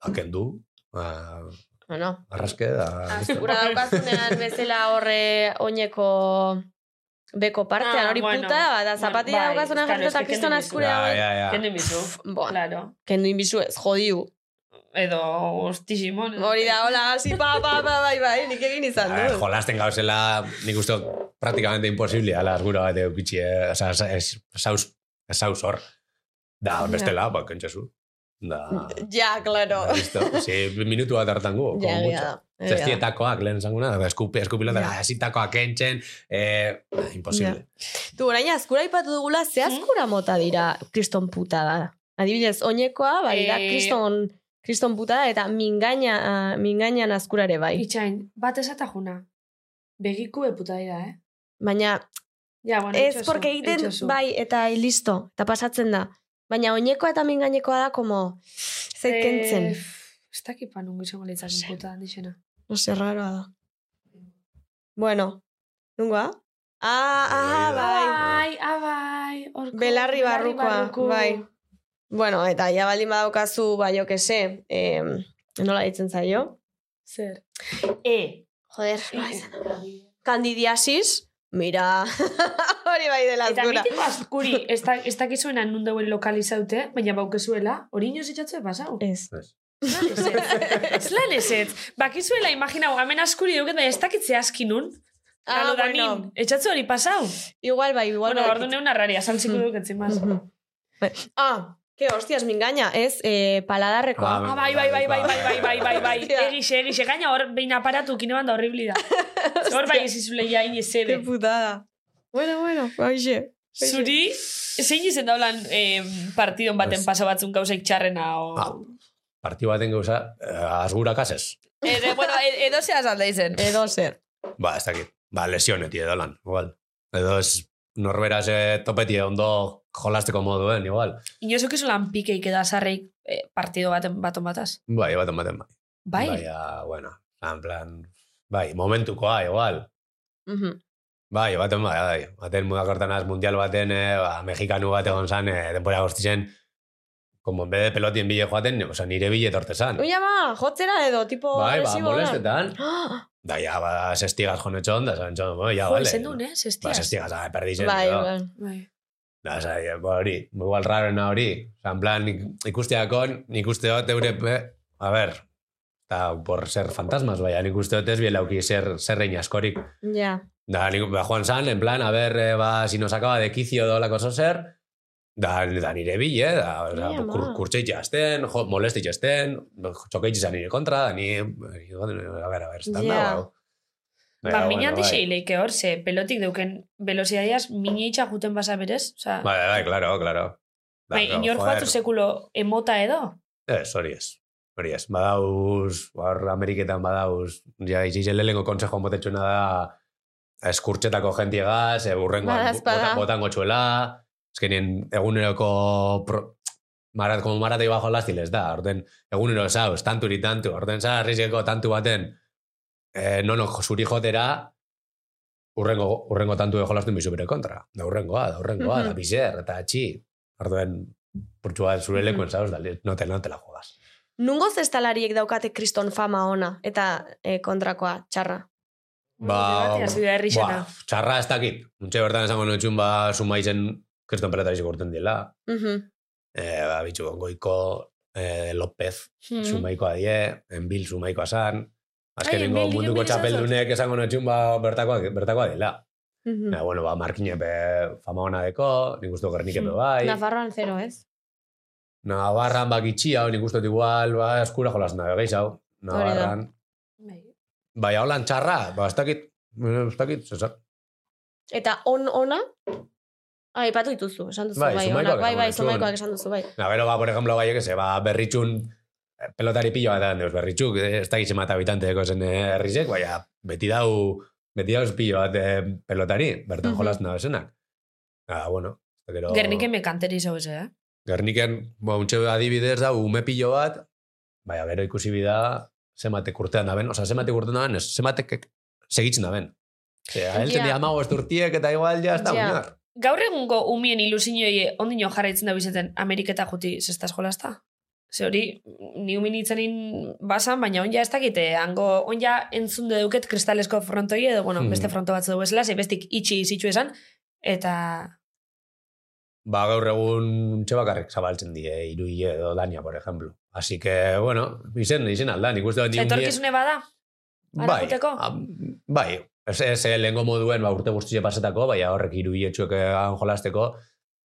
S6: akendu, ba,
S2: Bueno,
S6: arraske da. listo.
S2: Ah,
S4: Bai.
S2: azkura
S4: (laughs)
S2: daukazunean bezala horre oineko beko partean,
S4: Ah,
S2: hori
S4: bueno.
S2: puta, da
S4: Bueno,
S2: zapatilla
S4: bai,
S2: daukazunean
S4: claro,
S2: jartzen
S4: es
S2: eta
S4: que
S2: kriston
S4: kendu
S2: azkura
S6: Ja,
S2: hori.
S6: ja, ja.
S4: Kenden bizu.
S2: Boa,
S4: Claro.
S2: kendu inbizu ez, jodiu.
S4: Edo ostisimon.
S2: Hori da, hola, hasi, pa, pa, pa, bai, bai, nik egin
S6: A
S2: izan
S6: ver,
S2: du.
S6: Ba, jolasten gauzela, nik uste dut praktikamente imposible, ala, asgura bat eukitxi, eh? Osa, es- saus, saus hor. Da, bestela, ba, kentxezu. Da,
S2: Ja, klaro.
S6: da, listo. Si, minutu bat hartango,
S2: Ah, (laughs) Ja,
S6: como
S2: egia
S6: mucho.
S2: da. egia da.
S6: Zestietakoak lehen zanguna, da, eskupi, eskupilota,
S2: Ja.
S6: da, ezitakoak kentzen, eh, da, imposible.
S2: Tu, orain, azkura ipatu dugula, ze azkura mota dira kriston puta da. Adibidez, oinekoa, bai, da,
S4: Eh,
S2: kriston, kriston puta da, eta mingaina, ah, mingainan azkura ere bai.
S4: Itxain, bat esata juna. Begiku eputa dira, eh?
S2: Baina,
S4: Ja, bueno,
S2: ez,
S4: itxozu,
S2: porque egiten,
S4: itxozu.
S2: bai, eta listo, eta pasatzen da. Baina, oinekoa eta mingainekoa da, como, zait kentzen.
S4: Eh, Ez dakipan ungo izango litzakin
S2: Ose.
S4: puta handixena.
S2: No sé, raroa da. Bueno, nungoa? Ah, ah,
S6: Hori da.
S2: bai.
S4: Abai, abai. Orko,
S2: Belarri barrukoa, bai. Bueno, eta ja baldin badaukazu, ba, jo que se, eh, nola ditzen zaio?
S4: Zer.
S2: E. (laughs) Joder, nola izan da? Candidiasis, mira, (laughs) hori bai dela
S4: Eta
S2: azkura.
S4: mitiko
S2: (laughs)
S4: azkuri, ez, da, ez dakizuena nun dauen lokalizaute, baina baukezuela, hori inoz itxatzue pasau.
S2: Ez.
S4: Ez lan ezetz. Bakizuela, imaginau, hemen askuri duket, baina ez dakitze aski nun.
S2: Ah,
S4: Galo danin,
S2: bueno.
S4: etxatzu hori pasau.
S2: Igual bai, igual
S4: Bueno,
S2: bai.
S4: ordu neun arraria, saltziko
S2: Mm.
S4: duket zinbaz.
S2: Mhm. Bai. Ah, que hostias, mingaina, ez, eh, paladarrekoa.
S4: Ah, bai, bai, bai, bai, bai, bai, bai, bai,
S2: (laughs)
S4: bai.
S2: Hostia.
S4: Egixe, egixe, gaina hor behin aparatu kine banda horribli
S2: (laughs)
S4: da. Hor bai ez izule ja
S2: Qué
S4: inezede.
S2: putada. Bueno, bueno, baixe.
S4: Zuri, zein izen daulan eh, partidon baten
S6: Ez.
S4: pasa batzun gauzaik txarrena o...
S6: Ah, Parti baten gauza, eh, asgurak asez.
S4: Ere, bueno, e- edo zehaz alda izen.
S2: Edo zer.
S6: Ba, ez dakit. Ba, lesioneti edo lan, igual. Edo ez norberaz eh, topetie ondo jolasteko moduen, igual.
S4: Inozuk ez lan pikeik edo azarreik eh, partido baten baton bataz.
S6: Bai, baten baten bai.
S4: Bai?
S6: Baina, bueno, en plan, bai, momentukoa, igual.
S2: Mhm.
S6: Bai, baten bai, bai. Baten mudakortanaz mundial baten, eh, ba, mexikanu bat egon zan, eh, denbora guztizen, como en vez de pelotien bile joaten, oza, nire bile torte zan.
S2: Oia ba, jotzera edo, tipo
S6: Bai, ba,
S2: agresibo da.
S6: molestetan.
S2: (gasps) Ah,
S6: Da, ja, ba, sestigas jonetxon, da, zantxon, bueno, ja,
S4: Jo,
S6: ah, vale.
S4: izen duen, eh?
S6: Ba,
S4: Zestiaz.
S6: sestigas, ah, perdizen.
S2: Bai,
S6: edo.
S2: bai.
S4: Bai.
S6: Da, oza, ja, ba, hori, igual rarena hori. Oza, en plan, ik- ikusteakon, nik uste dut eure, pe- a ber, eta por ser fantasmas, baina nik uste dut ez bielauki zer, zerrein askorik.
S2: Ja.
S6: Da, nik, ba, joan zan, en plan, a ber, eh, ba, si nos acaba de kizio edo lako zer, da, da nire bile, da, oza,
S2: Ni ama.
S6: kur, kurtseitxe azten, jo, molestitxe azten, txokeitxe zan nire kontra, da, ni, a ber, a ber, zan
S2: Ja.
S6: da, hau. Bai, ah,
S4: Ba, mina handixe hileike hor, ze pelotik deuken velozidadiaz, mina itxa juten basa berez. Osa,
S6: Bai, bai, claro, claro. Da,
S4: bai,
S6: claro,
S4: inor
S6: joder.
S4: joatu sekulo emota edo.
S6: Ez, hori ez. Hori ez. Badauz, hor Ameriketan badauz, ja, izizen lehenko konsejo motetxuna da eskurtxetako e, jentiegaz, urrengoan
S2: Badaezpada.
S6: botan, botango txuela, eskenien eguneroko pro, marat, como maratoi bajo lastiles da, orden, egunero zauz, tanturi tantu, orden za, riziko tantu baten, eh, nono, zuri jotera, urrengo, urrengo tantu de jolastu bizu bere kontra. Da urrengoa, da urrengoa,
S2: Mhm.
S6: da bizer, eta atxi. Orden, purtsua zure
S4: Mm.
S2: Mhm.
S6: lekuen zauz, da, li- no te, no te la juegas.
S2: Nungo zestalariek daukate kriston fama ona eta eh, kontrakoa txarra.
S6: Ba,
S4: Debate, hasi da herri xena.
S6: Buah, txarra ez dakit. Untxe bertan esango nutxun, ba, sumaizen kriston peletarisik urten dila.
S2: Mhm.
S6: Eh, ba, bitxu, goiko, eh, López,
S4: Mm. Hmm.
S6: sumaikoa die, enbil sumaikoa zan, azkenengo
S4: Enbil,
S6: munduko
S4: Enbil izan zut.
S6: txapeldunek esango notxun ba, bertakoa, bertakoa dela.
S2: Mhm.
S6: Mm. bueno, ba, markinepe fama hona deko, nik uste gernikepe
S4: Mm.
S6: bai.
S2: Nafarroan zero, ez?
S6: Navarran bakitxia, hau, nik uste dut igual, ba, eskura jolasen da, gehiz hau. Navarran.
S4: Bai.
S6: Baina holan txarra, ba, ez dakit, eh, ez dakit, zezak.
S2: Eta on ona? Ah, ipatu dituzu, esan duzu,
S6: Bai,
S2: bai,
S6: zumaikoak
S2: onak, bai,
S6: esan
S2: bai,
S6: duzu.
S2: zumaikoak esan duzu, bai.
S6: Na, gero, ba, por ejemplo, bai, egese, ba, berritxun, eh, pelotari pilo bat edan deus, berritxuk, eh, ez dakit zemata bitanteko zen eh, herrizek, baina beti dau, beti dauz pilo bat eh, pelotari, bertan
S2: Mhm.
S6: jolasen da bezenak. Ah, bueno, eta gero...
S4: Gernike mekanteri zau ze, eh?
S6: Gerniken, ba, untxe adibidez da, ume pilo bat, baina gero ikusi bida, zematek urtean da ben, oza, zematek urtean da ben, ez, zematek segitzen da ben. Ea, helten
S2: Ja.
S6: yeah. amago esturtiek eta igual jazta,
S2: Ja.
S6: yeah.
S4: Gaur egungo umien ilusioi ondino jarraitzen da bizeten Ameriketa juti zestaz jolazta. Ze hori, ni umin itzanin basan, baina onja ez dakite, hango, onja entzun deduket kristalesko frontoi edo, bueno,
S6: Mhm.
S4: beste fronto batzu dugu esela, ze bestik itxi izitxu esan, eta
S6: Ba, gaur egun untxe bakarrik zabaltzen die, iruile edo dania, por ejemplo. Así que, bueno, izen, izen aldan, ikusten dut
S4: etorkizune bada. ara
S6: bai,
S4: joateko?
S6: am- bai, ez, ez eh, lehengo moduen, ba, urte guztile pasetako, baina horrek iruile txuek eh, jolasteko,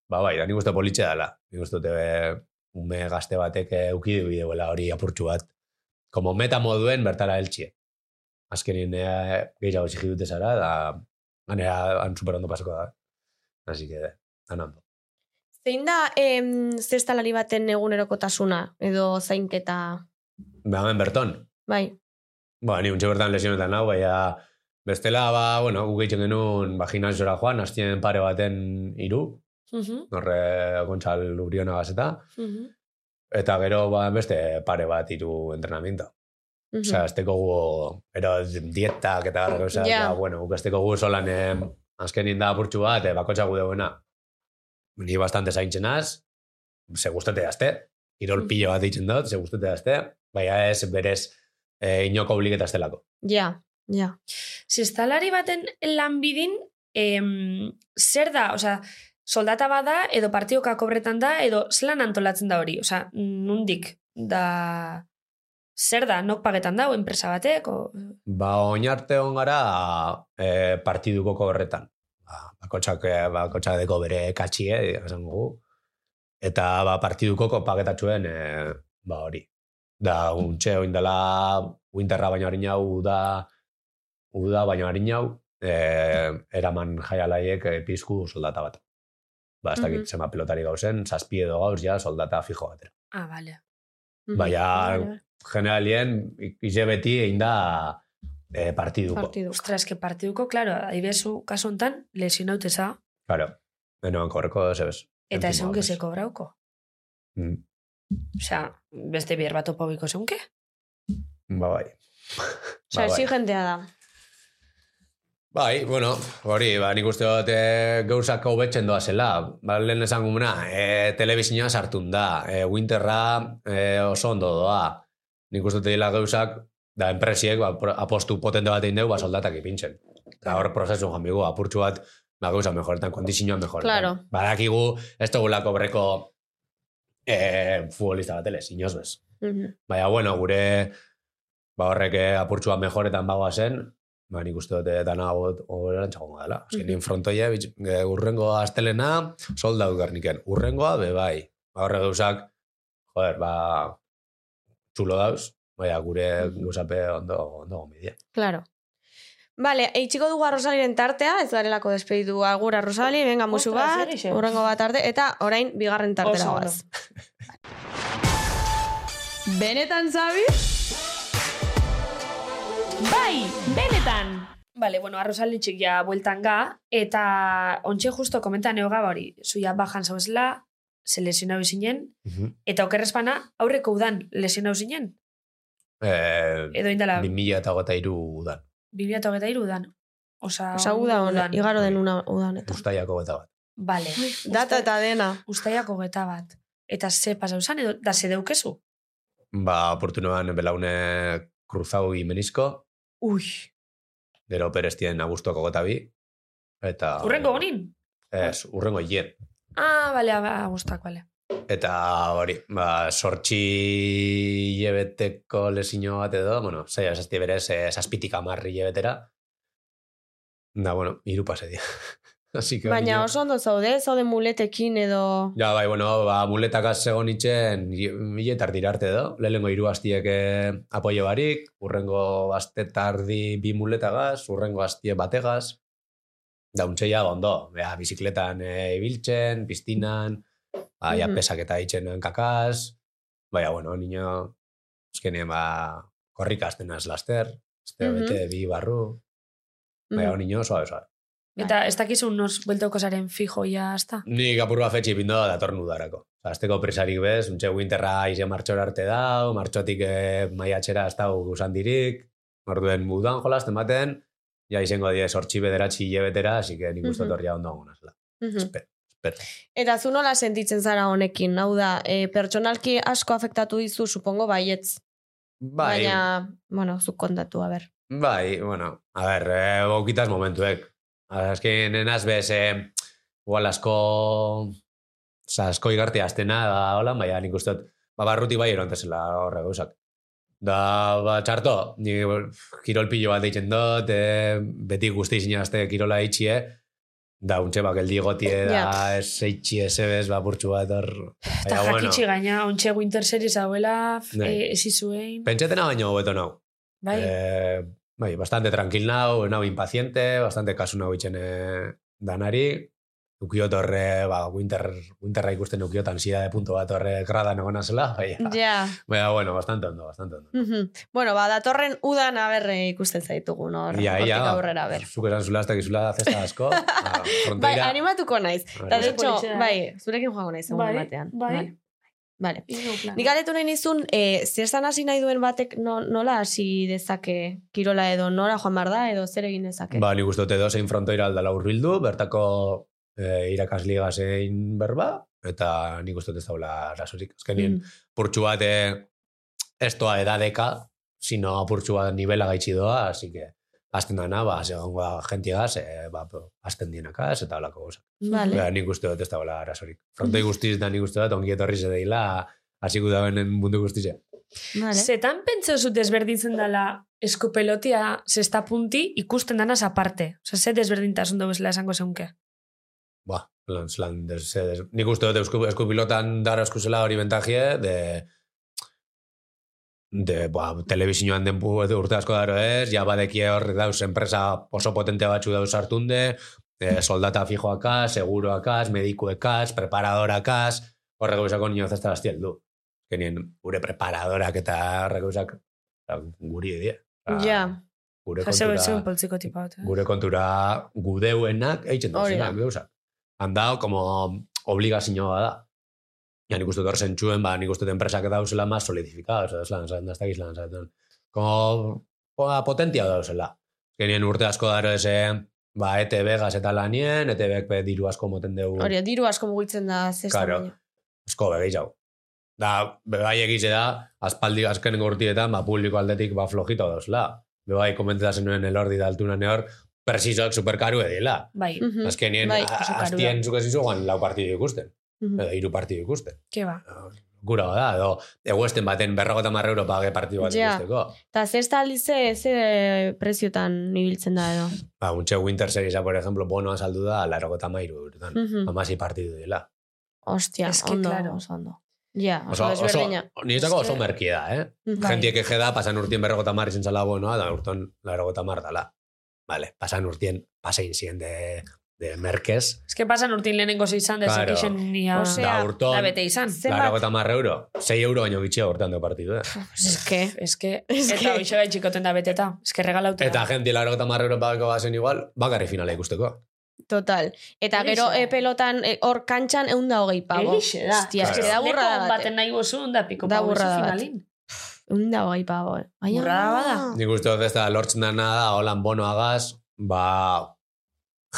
S6: ba, bai, da nik uste politxe dela. Nik uste dute eh, ume gazte batek eh, ukidu bideuela hori apurtxu bat. Como meta moduen bertara heltxie. Azkenin eh, gehiago exigi dute zara, da, ganera, han superondo pasako da. Así que, han ondo.
S2: Zein da em, zestalari baten egunerokotasuna, edo zainketa,
S6: Ba, hemen berton.
S2: bai.
S6: Ba, ni untxe bertan lesionetan hau, baina bestela, ba, bueno, guk egiten genuen, ba, gimnasiora joan, hastien pare baten hiru,
S4: Mhm,
S6: horre Gontzal Ubriona gazeta,
S4: mhm.
S6: eta gero, ba, beste pare bat hiru entrenamiento. Osea, ez tekogu, ero dietak eta gara, osea,
S2: Ja.
S6: yeah. bueno, guk ez tekogu solan eh, azkenin da apurtxu bat, eh, bakotxa gudeuna. Ni bastante zaintzenaz, ze gustate dazte, kirol pilo bat ditzen dut, ze gustate dazte, baina ez berez eh, inoko obligeta ez delako.
S2: Ja, ja.
S4: Zestalari baten lanbidin, em, zer da, osea, soldata bada, edo partioka kobretan da, edo zelan antolatzen da hori, osea, nundik, da... Zer da, nok pagetan da, enpresa batek, o...
S6: Ba, oinarte hon gara eh, partiduko horretan. Ba, bakotxak, eh, bakotxak deko bere katxie, esan gu. Eta ba, partiduko kopaketatxuen, eh, ba hori. Da, untxe, oindela, winterra baino harin hau, uda, uda baino harin hau, eh, eraman jaialaiek eh, pizku soldata bat. Ba, ez dakit,
S2: Mhm.
S6: zema pelotari gauzen, zazpi edo gauz, ja, soldata fijo batera.
S4: Ah, bale.
S2: Mhm.
S6: Baina,
S2: Vale, vale.
S6: generalien, ize beti egin da eh, partiduko.
S2: Partidu.
S4: Ostras, que partiduko, claro, adibezu kasu hontan, lesionauteza,
S6: Claro. Beno, korreko, zebez.
S4: eta
S6: Entzun,
S4: esanke
S6: babes.
S4: seko brauko.
S6: Mm,
S4: Osea, beste bier bat opabiko zeunke?
S6: Ba, bai.
S2: Osea, exigentea da.
S6: Bai, bueno, hori, ba, nik uste dut e, gauzak hobetzen doazela. Ba, lehen esan gumena, e, telebizioa sartun da, e, winterra e, oso ondo doa. Nik uste dut dela gauzak, da enpresiek, ba, pro- apostu potente bat egin dugu, ba, soldatak ipintzen. Eta hor prozesu jambigu, apurtxu bat, ba, gauza mejoretan, kondizioa mejoretan.
S2: Claro.
S6: Badakigu, ez dugulako breko e, futbolista bat elez, inoz bez.
S2: Mhm.
S6: Baina, bueno, gure ba horrek eh, apurtxua mejoretan bagoa zen, ba nik uste dut eh, dana hobot- hoberan txagongo dela. Azkenin frontoia, bitx- eh, urrengo astelena, soldau garniken. Urrengoa, be bai. Ba horre gauzak, joder, ba, txulo dauz, baina gure gauzape ondo, ondo gombidea.
S2: Claro. Vale, eitziko dugu arrozaliren tartea, ez garelako despeditu agur arrozali, venga, musu
S4: Ostras,
S2: bat,
S4: erixe.
S2: urrengo bat arte, eta orain bigarren tartera
S4: Oso ondo.
S2: goaz. (laughs) Benetan, Zabi?
S7: Bai, benetan.
S4: Vale, bueno, arrozalitxik ja bueltan ga, eta ontxe justo komentan eoga hori, zuia bajan zauzela, se lesionau zinen, eta okerrezpana aurreko udan lesionau zinen,
S6: Eh,
S4: edo indala,
S6: 2000 eta gota iru udan,
S4: 2023 udan. Osa,
S2: Osa, uda honen, igaro den una udan. eta.
S6: ustaiako gota bat.
S4: Vale,
S2: Data eta dena.
S4: ustaiako geta bat. Eta ze pasauzan, edo, da ze deukezu.
S6: Ba, apurtu noan belaune cruzau imenisko,
S4: Ui,
S6: gero perestien agustuako gota bi, eta...
S4: urrengo honin?
S6: Ez,
S2: Bai.
S6: urrengo hien.
S4: Ah, bale, agustak, bale.
S6: Eta hori, ba, sortxi hilebeteko lesino bat edo, bueno, zei, esazti berez, eh, zazpitik amarri hilebetera. Da, bueno, iru pase dia. (laughs) Así que
S2: Baina
S6: hori-
S2: oso ondo zaude, zaude muletekin edo...
S6: Ja, bai, bueno, ba, muletakaz segon itxen hile tardir arte edo. Lehenengo hiru astiek eh, apoio barik, urrengo aste tardi bi muletagaz, urrengo astie bategaz. Dauntzeia ondo, bea, bizikletan eh, ibiltzen, piztinan, aia
S2: Mhm.
S6: pesak eta itxen kakaz. Baina, bueno, nino, eskenean, ba, korrika aztenaz laster, este
S2: Mhm.
S6: bete bi barru. Baina,
S2: Mhm.
S6: nino, suave, suave.
S2: Bai.
S4: Eta ez dakizu nos bueltauko zaren fijo ja hasta.
S6: Ni kapurba fetxi pindo datorn udarako. Azteko presarik bez, untxe winterra ize martxor arte dau, martxotik eh, maiatxera ez dau guzan dirik, orduen udan jolasten baten, ja izango die sortxi bederatxi hilebetera, así que nik uste
S2: Mhm.
S6: torria ondo dagoen azela.
S2: Mhm.
S6: Espe- espero.
S2: Eta zu nola sentitzen zara honekin, hau da, e, pertsonalki asko afektatu dizu, supongo, baietz.
S6: Bai,
S2: Baina, bueno, zu kontatu, a ber.
S6: bai, bueno, a ber, eh, bokitas momentuek. Azken enaz bez, eh, igual asko, oza, asko igartia aztena, da, hola, baina nik uste, dut, ba, barruti bai erontezela horre gauzak. Da, ba, txarto, ni kirol pilo bat deitzen dut, eh, beti guzti zinazte kirola itxie, da, untxe bak, eldi gotie, da, ez eitxie, ez ebez, ba, burtsu bat hor.
S4: Eta
S6: Baina,
S4: jakitxi gaina, ontxe winter series hauela, f-
S6: Bai.
S4: eh, ez izuein.
S6: Pentsetena baino hobeto nau.
S4: Bai,
S6: Eh, bai, bastante tranquil nau, nau impaciente, bastante kasu nau itxen eh, danari. Ukiot horre, ba, winter, winterra ikusten ukiot ansiedade punto bat horre gradan egon azela, baina,
S2: Ja.
S6: baina, bueno, bastante ondo, bastante ondo.
S2: Mhm. bueno, ba, datorren udan aberre ikusten zaitugu, no?
S6: Ia, ia,
S2: aurrera, ber.
S6: zuk esan zula, hasta gizula zesta
S2: (laughs)
S6: asko, ba,
S2: Bai,
S6: fronteira.
S2: animatuko naiz. Eta,
S6: Bai.
S2: de hecho,
S4: Polizia.
S2: bai, zurekin joango naiz, egun
S4: Bai,
S2: batean.
S4: bai.
S2: Vale.
S4: Hiru plan.
S2: Nik galetu nahi nizun, e, zertan hasi nahi duen batek no, nola hasi dezake kirola edo nora joan behar da edo zer egin dezake.
S6: Ba, nik uste dut edozein frontoira aldala urbildu, bertako eh, irakasliga zein berba, eta nik uste dut ez daula rasorik. Azkenien,
S2: Mm.
S6: purtsu bat eh, ez doa edadeka, sino purtsu bat nivela gaitxi doa, así que azten dana, ba, segongo da jentiegaz, eh, ba, po, azten dienakaz, eta holako gozak.
S4: Mhm.
S2: Vale. Mm.
S6: Ba, nik uste dut ez daula rasorik. Frontoi guztiz da nik uste dut, ongi etorri zedeila, hasiko da benen mundu eh. guztizea.
S2: Vale.
S4: Zetan pentsa zu desberdintzen dela eskupelotia zesta punti ikusten danaz aparte. Osa, ze desberdintasun dugu bezala esango zeunke.
S6: Ba, lan, lan, des, des, nik uste dut eusku, eskupilotan dara eskuzela hori bentaje, de, de, ba, telebizioan den pu- edo urte asko daro ez, ja badekie hor dauz enpresa oso potente batzu dauz hartunde, eh, soldata fijoakaz, seguroakaz, medikuekaz, preparadorakaz, horrego izako nio zazta bastiel du. Genien, gure preparadorak eta horrego izak, guri edia.
S2: Ja.
S6: Gure
S4: Jase
S6: kontura-
S4: hori zuen poltziko tipa bat. Eh?
S6: gure kontura gudeuenak eitzen
S2: Hori da.
S6: duzenak gauzak. Handao, como obligazioa bada. Ja nik uste dut hor zentzuen, ba, nik uste dut enpresak dauzela más solidificados, ez lan, zaten, ez dakiz lan, zaten. Como ba, potentia dauzela. Genien urte asko daro ese, ba, ETB gazeta lanien, E ETB pe diru asko moten dugu.
S2: Hori, diru asko mugitzen da zesta.
S6: bai. Claro.
S2: baino.
S6: Asko begeiz hau. Da, bebai egize da, aspaldi azkenengo urtietan, ba, publiko aldetik, ba, flojito dauzela. Bebai, komenteta zenuen elordi da altuna nehor, presizoak superkaru edila.
S4: Bai,
S2: Mhm.
S6: Azkenien,
S2: Bai,
S6: bai,
S4: oso karu
S6: aztien zuk ez izuan lau partidu ikusten,
S2: Mhm.
S6: edo hiru partidu ikusten.
S4: ke ba.
S6: Gura da, edo eguesten baten berrogota marra euro page partidu bat
S2: Ja.
S6: ikusteko.
S2: Eta zesta alize, ze eh, preziotan ibiltzen da edo.
S6: Ba, untxe Winter Seriesa, por ejemplo, bonoa saldu da, larogota mairu eurotan.
S2: Mhm.
S6: Amasi partidu dela.
S2: Ostia,
S4: Es que,
S2: ondo,
S4: claro.
S2: oso ondo. Ja, oso,
S6: Oso,
S2: oso
S6: oso,
S2: desberdina.
S6: niretako oso
S4: Eske-
S6: merki da, eh?
S2: Bai.
S6: Jentiek ege da, pasan urtien berrogota mar izan zala bonoa, da urton larogota mar dala. Vale, pasan urtien, pasein zien de, de merkez,
S4: Ez que pasan urtin lehenengo zeizan, da
S6: Claro.
S4: claro. zekixen nia.
S2: Ah. Osea,
S6: da urton,
S4: da bete izan.
S2: Zenbat-
S6: larogota mar euro, 6 euro baino gitxia urtean de partidu, eh?
S2: Eske,
S4: Ez que,
S2: (laughs) Es que-
S4: eta hoxe bai txikoten da beteta. Ez que regalauta.
S6: Eta jenti laro eta marrero bako bazen igual, bakarri finala ikusteko.
S2: total. Eta
S4: Horixe.
S2: gero e, pelotan, e, hor kantxan egun da hogei pago.
S4: Egixe da.
S2: Ba, Hostia,
S6: Claro.
S2: eske da burra da
S4: Leku
S2: bate.
S4: baten nahi gozun, da piko
S2: Da
S4: pau
S2: burrada
S4: ezu
S2: bat.
S4: finalin.
S2: Egun da hogei pago. eh. Baina-
S4: Burrada bada.
S6: Nik uste dut ez da lortzen dana da, holan bonoagaz, ba,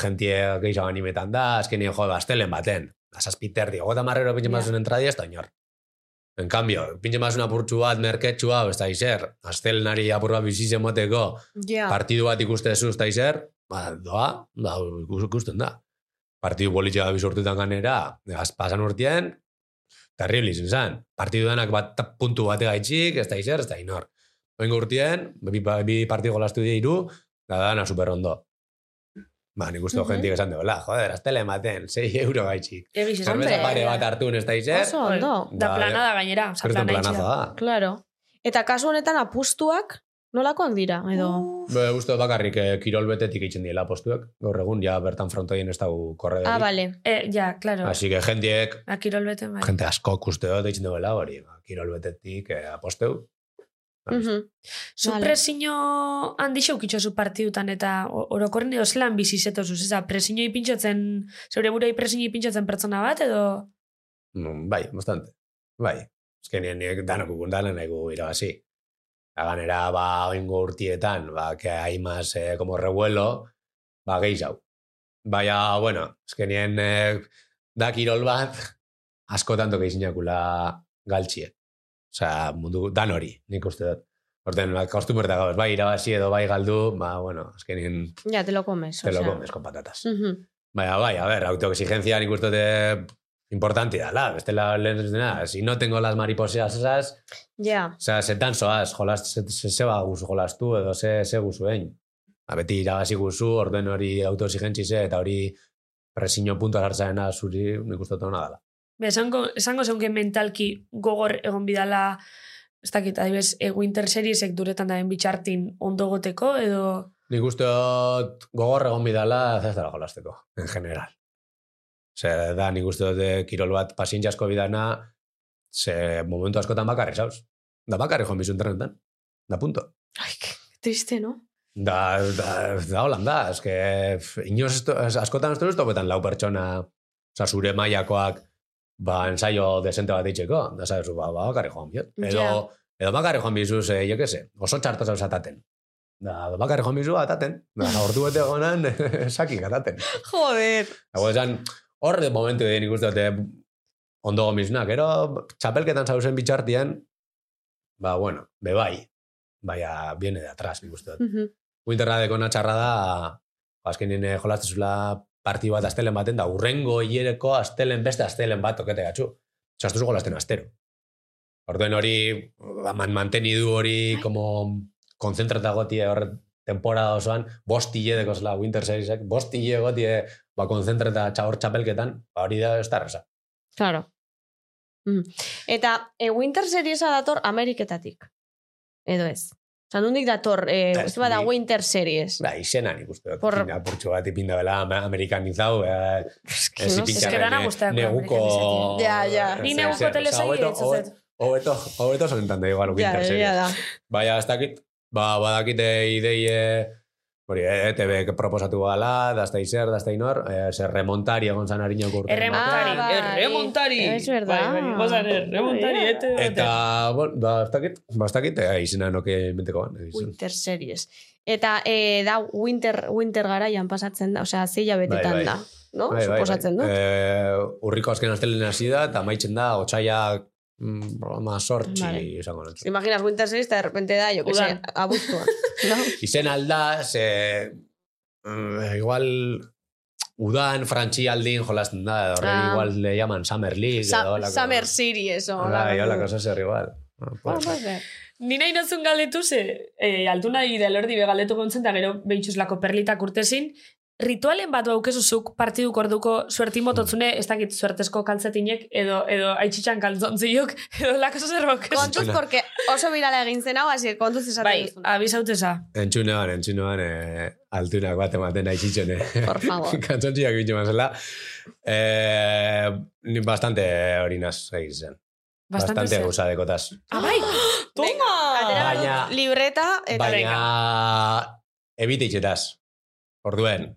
S6: jentie gehiago animetan da, azkenien jo, bastelen baten. Azazpiter dio, gota marrero pintxe
S4: Ja.
S6: mazun entradi ez da inor. En cambio, pintxe mazun apurtxu bat, merketxua, ez da izer, astelenari apur bat biziz emoteko,
S4: Ah.
S2: Ja.
S6: partidu bat ikuste zu ez da izer, ba, doa, da, ikus- ikusten da. Partidu bolitxe gabe sortutan ganera, az- pasan urtien, terrible izan zen. Partidu denak bat puntu bate gaitxik, ez da izer, ez da inor. Oingo urtien, bi, pa- bi partidu jolastu dira iru, da dana super ondo. Ba, nik uste uh
S2: Mhm.
S6: jentik esan dela, joder, aztele ematen, 6 euro gaitxik.
S4: Egixe,
S6: Zerbeza pare bat Ba, hartun ez da izer,
S2: Oso ondo.
S4: Da
S6: Da,
S4: plana da gainera. osa,
S6: zerten
S4: plana itxi
S6: planaza
S4: da.
S6: da.
S2: Claro. Eta kasu honetan apustuak nolakoak dira, edo...
S6: Be, uste dut bakarrik eh, kirol betetik itxen diela postuak. Gaur egun, ja bertan frontoien ez dago korrederik.
S2: Ah, vale.
S4: Eh, ja, claro.
S6: Así que jendiek,
S4: Akirol beten bai.
S6: jente asko kuste dut eitzen duela hori. ba, Kirol betetik eh, aposteu. Bai.
S2: Mhm. Vale.
S4: Zu presiño handi xeukitxo zu partidutan eta o- orokorren edo zelan bizizeto zuz, eza, presiño ipintxotzen, zeure burei presiño ipintxotzen pertsona bat edo...
S6: Mm, bai, bastante. Bai. Ezkenien nik danok ukun dana nahi gu irabazi. Eta ganera, ba, oingo urtietan, ba, que hay más eh, como revuelo, ba, gehiago. Baina, bueno, ezkenien eh, da kirol bat, asko tanto gehizinakula galtxie. Osea, mundu, dan hori, nik uste dut. Horten, ba, kostumer da gauz, bai irabazi edo bai galdu, ba, bueno, ezkenien
S2: Ja, te lo comes.
S6: te lo
S2: osea.
S6: comes con patatas.
S2: Mhm.
S6: Vaya, vaya, a ver, autoexigencia nik uste dut importante dala, bestela lehen ez dena, si no tengo las mariposeas esas,
S2: Ja.
S6: o sea, setan zoaz, jolaz, se, se, se ba guzu jolastu edo ze, ze guzuen. Ba, beti iragazi guzu, orduen hori autoexigentzi ze, eta hori presiño puntu hartzaena zuri nik uste dut hona dala.
S4: Be, esango, esango zeunke mentalki gogor egon bidala, ez dakit, adibes, e, Winter Seriesek duretan daen bitxartin ondo goteko edo...
S6: Nik uste dut gogor egon bidala zaztara jolasteko, en general. Zer da, nik uste dut eh, kirol bat pasientxasko bidana, ze momentu askotan bakarri, zauz. Da bakarri joan bizun trenetan. Da punto.
S2: Ai, que triste, no?
S6: Da, da, da holan da, eske f, inoz esto, ez- askotan ez dut betan lau pertsona, oza, zure mailakoak ba, ensaio desente bat itxeko, da zabezu, ba, ba, bakarri joan biot. Edo,
S4: Ja.
S6: edo bakarri joan bizuz, eh, jo que se, oso txarto zauz ataten. Da, bakarri joan bizu ataten. Da, ordu bete gonan, (laughs) sakik ataten.
S2: Joder.
S6: Hago esan, hor de momentu egin ikusten dute ondo gomiznak. Ero, txapelketan zauzen bitxartian, ba, bueno, bebai. Baina, viene de atrás, nik uste dut.
S2: Mhm.
S6: Winterra dekona txarra da, azkenin eh, jolastuzula parti bat astelen baten, da urrengo hilereko astelen beste astelen bat tokete gatzu. Txastuzu jolasten astero. Orduen hori, ba, man, manteni du hori, como konzentrata gotie hor temporada osoan, bost hile dekozela Winter Seriesek, bost hile gotie, ba, konzentrata txaur txapelketan, ba, hori da ez da erraza.
S2: Claro. Mm. Eta e, Winter Seriesa dator Ameriketatik. Edo ez. Osa, nondik dator, e,
S6: Ez,
S2: ez bada
S6: ni- Ba,
S2: Winter Series.
S6: Da, izena nik uste dut,
S2: Por-
S6: Por... apurtxo bat ipinda bela ama- amerikanizau, eh,
S2: Eski, no sé.
S6: ez
S4: pincha.
S6: ipintxarren,
S4: Es que dana
S6: eh,
S4: gustako
S6: neguko... eh,
S4: amerikanizatik.
S2: Ja, ja.
S4: Ni
S6: Ez,
S4: neguko
S6: ez, ez,
S4: telesaila
S6: hobeto-
S4: hitz ez dut.
S6: Hobeto, hobeto sonetan da igual
S2: Ja,
S6: Winter Series.
S2: egia da.
S6: Baina, ez dakit, ba, badakite ideie, hori, eh, ETB proposatu gala, dazta izer, dazta inor, eh, ze remontari egon zan harinok urte.
S4: Erremontari.
S2: Ah, bai.
S4: Erremontari.
S2: Es verdad.
S4: Bai, bai, gozan, erremontari.
S2: Ja.
S4: ete, ete.
S6: Eta, bon, ba, ez dakit, ba, ez dakit, eh, izena noke menteko ban. eh, izen.
S2: Winter Series. Eta e, da Winter, winter garaian pasatzen da, osea, zeila betetan
S6: Bai, bai.
S2: da. No?
S6: Bai, bai,
S2: Suposatzen
S6: bai.
S2: dut.
S6: Eh, urriko azken astelen hasi da, eta maitzen da, otxaiak mm, ma sortxi
S2: Vale.
S6: izango nantzu.
S2: Imaginas Winter Series eta de repente da, jo que
S4: Udan.
S2: sé,
S4: (laughs)
S2: abuztua. no?
S6: Izen alda, ze... mm, igual... Udan, frantxi aldin jolasten da, horre
S2: Ah.
S6: igual le llaman Summer League.
S2: Sa-
S6: edo holako-
S2: Summer Series. o
S6: Bai,
S2: holako-
S6: hola, cosa zer igual. Ah,
S2: Ah,
S6: pues.
S2: puede ser.
S4: Ni nahi nozun galdetu ze, e, altuna idealordi begaldetu gontzen, da gero behintxuslako perlitak urtezin, ritualen bat baukezuzuk partiduk orduko suertin bototzune, ez dakit suertesko kaltzetinek, edo, edo aitzitxan kaltzontziok, (laughs) edo lako zer baukezu.
S2: Kontuz, porque oso birala egin zen hau, hasi kontuz esaten
S4: Bai,
S2: duzuna.
S4: abizauteza.
S6: Entxunean, entxunean, eh, altunak bat ematen aizitzen,
S2: (laughs)
S6: eh.
S2: Por
S6: (laughs)
S2: favor.
S6: Kantzontziak bitxo mazela. Eh, ni bastante hori naz egin zen. Bastante
S4: zer.
S6: gozadekotaz.
S4: Ah, bai! Toma!
S2: Atera behar dut
S6: Baina-
S2: libreta eta
S6: Baina, ebite itxetaz. Orduen.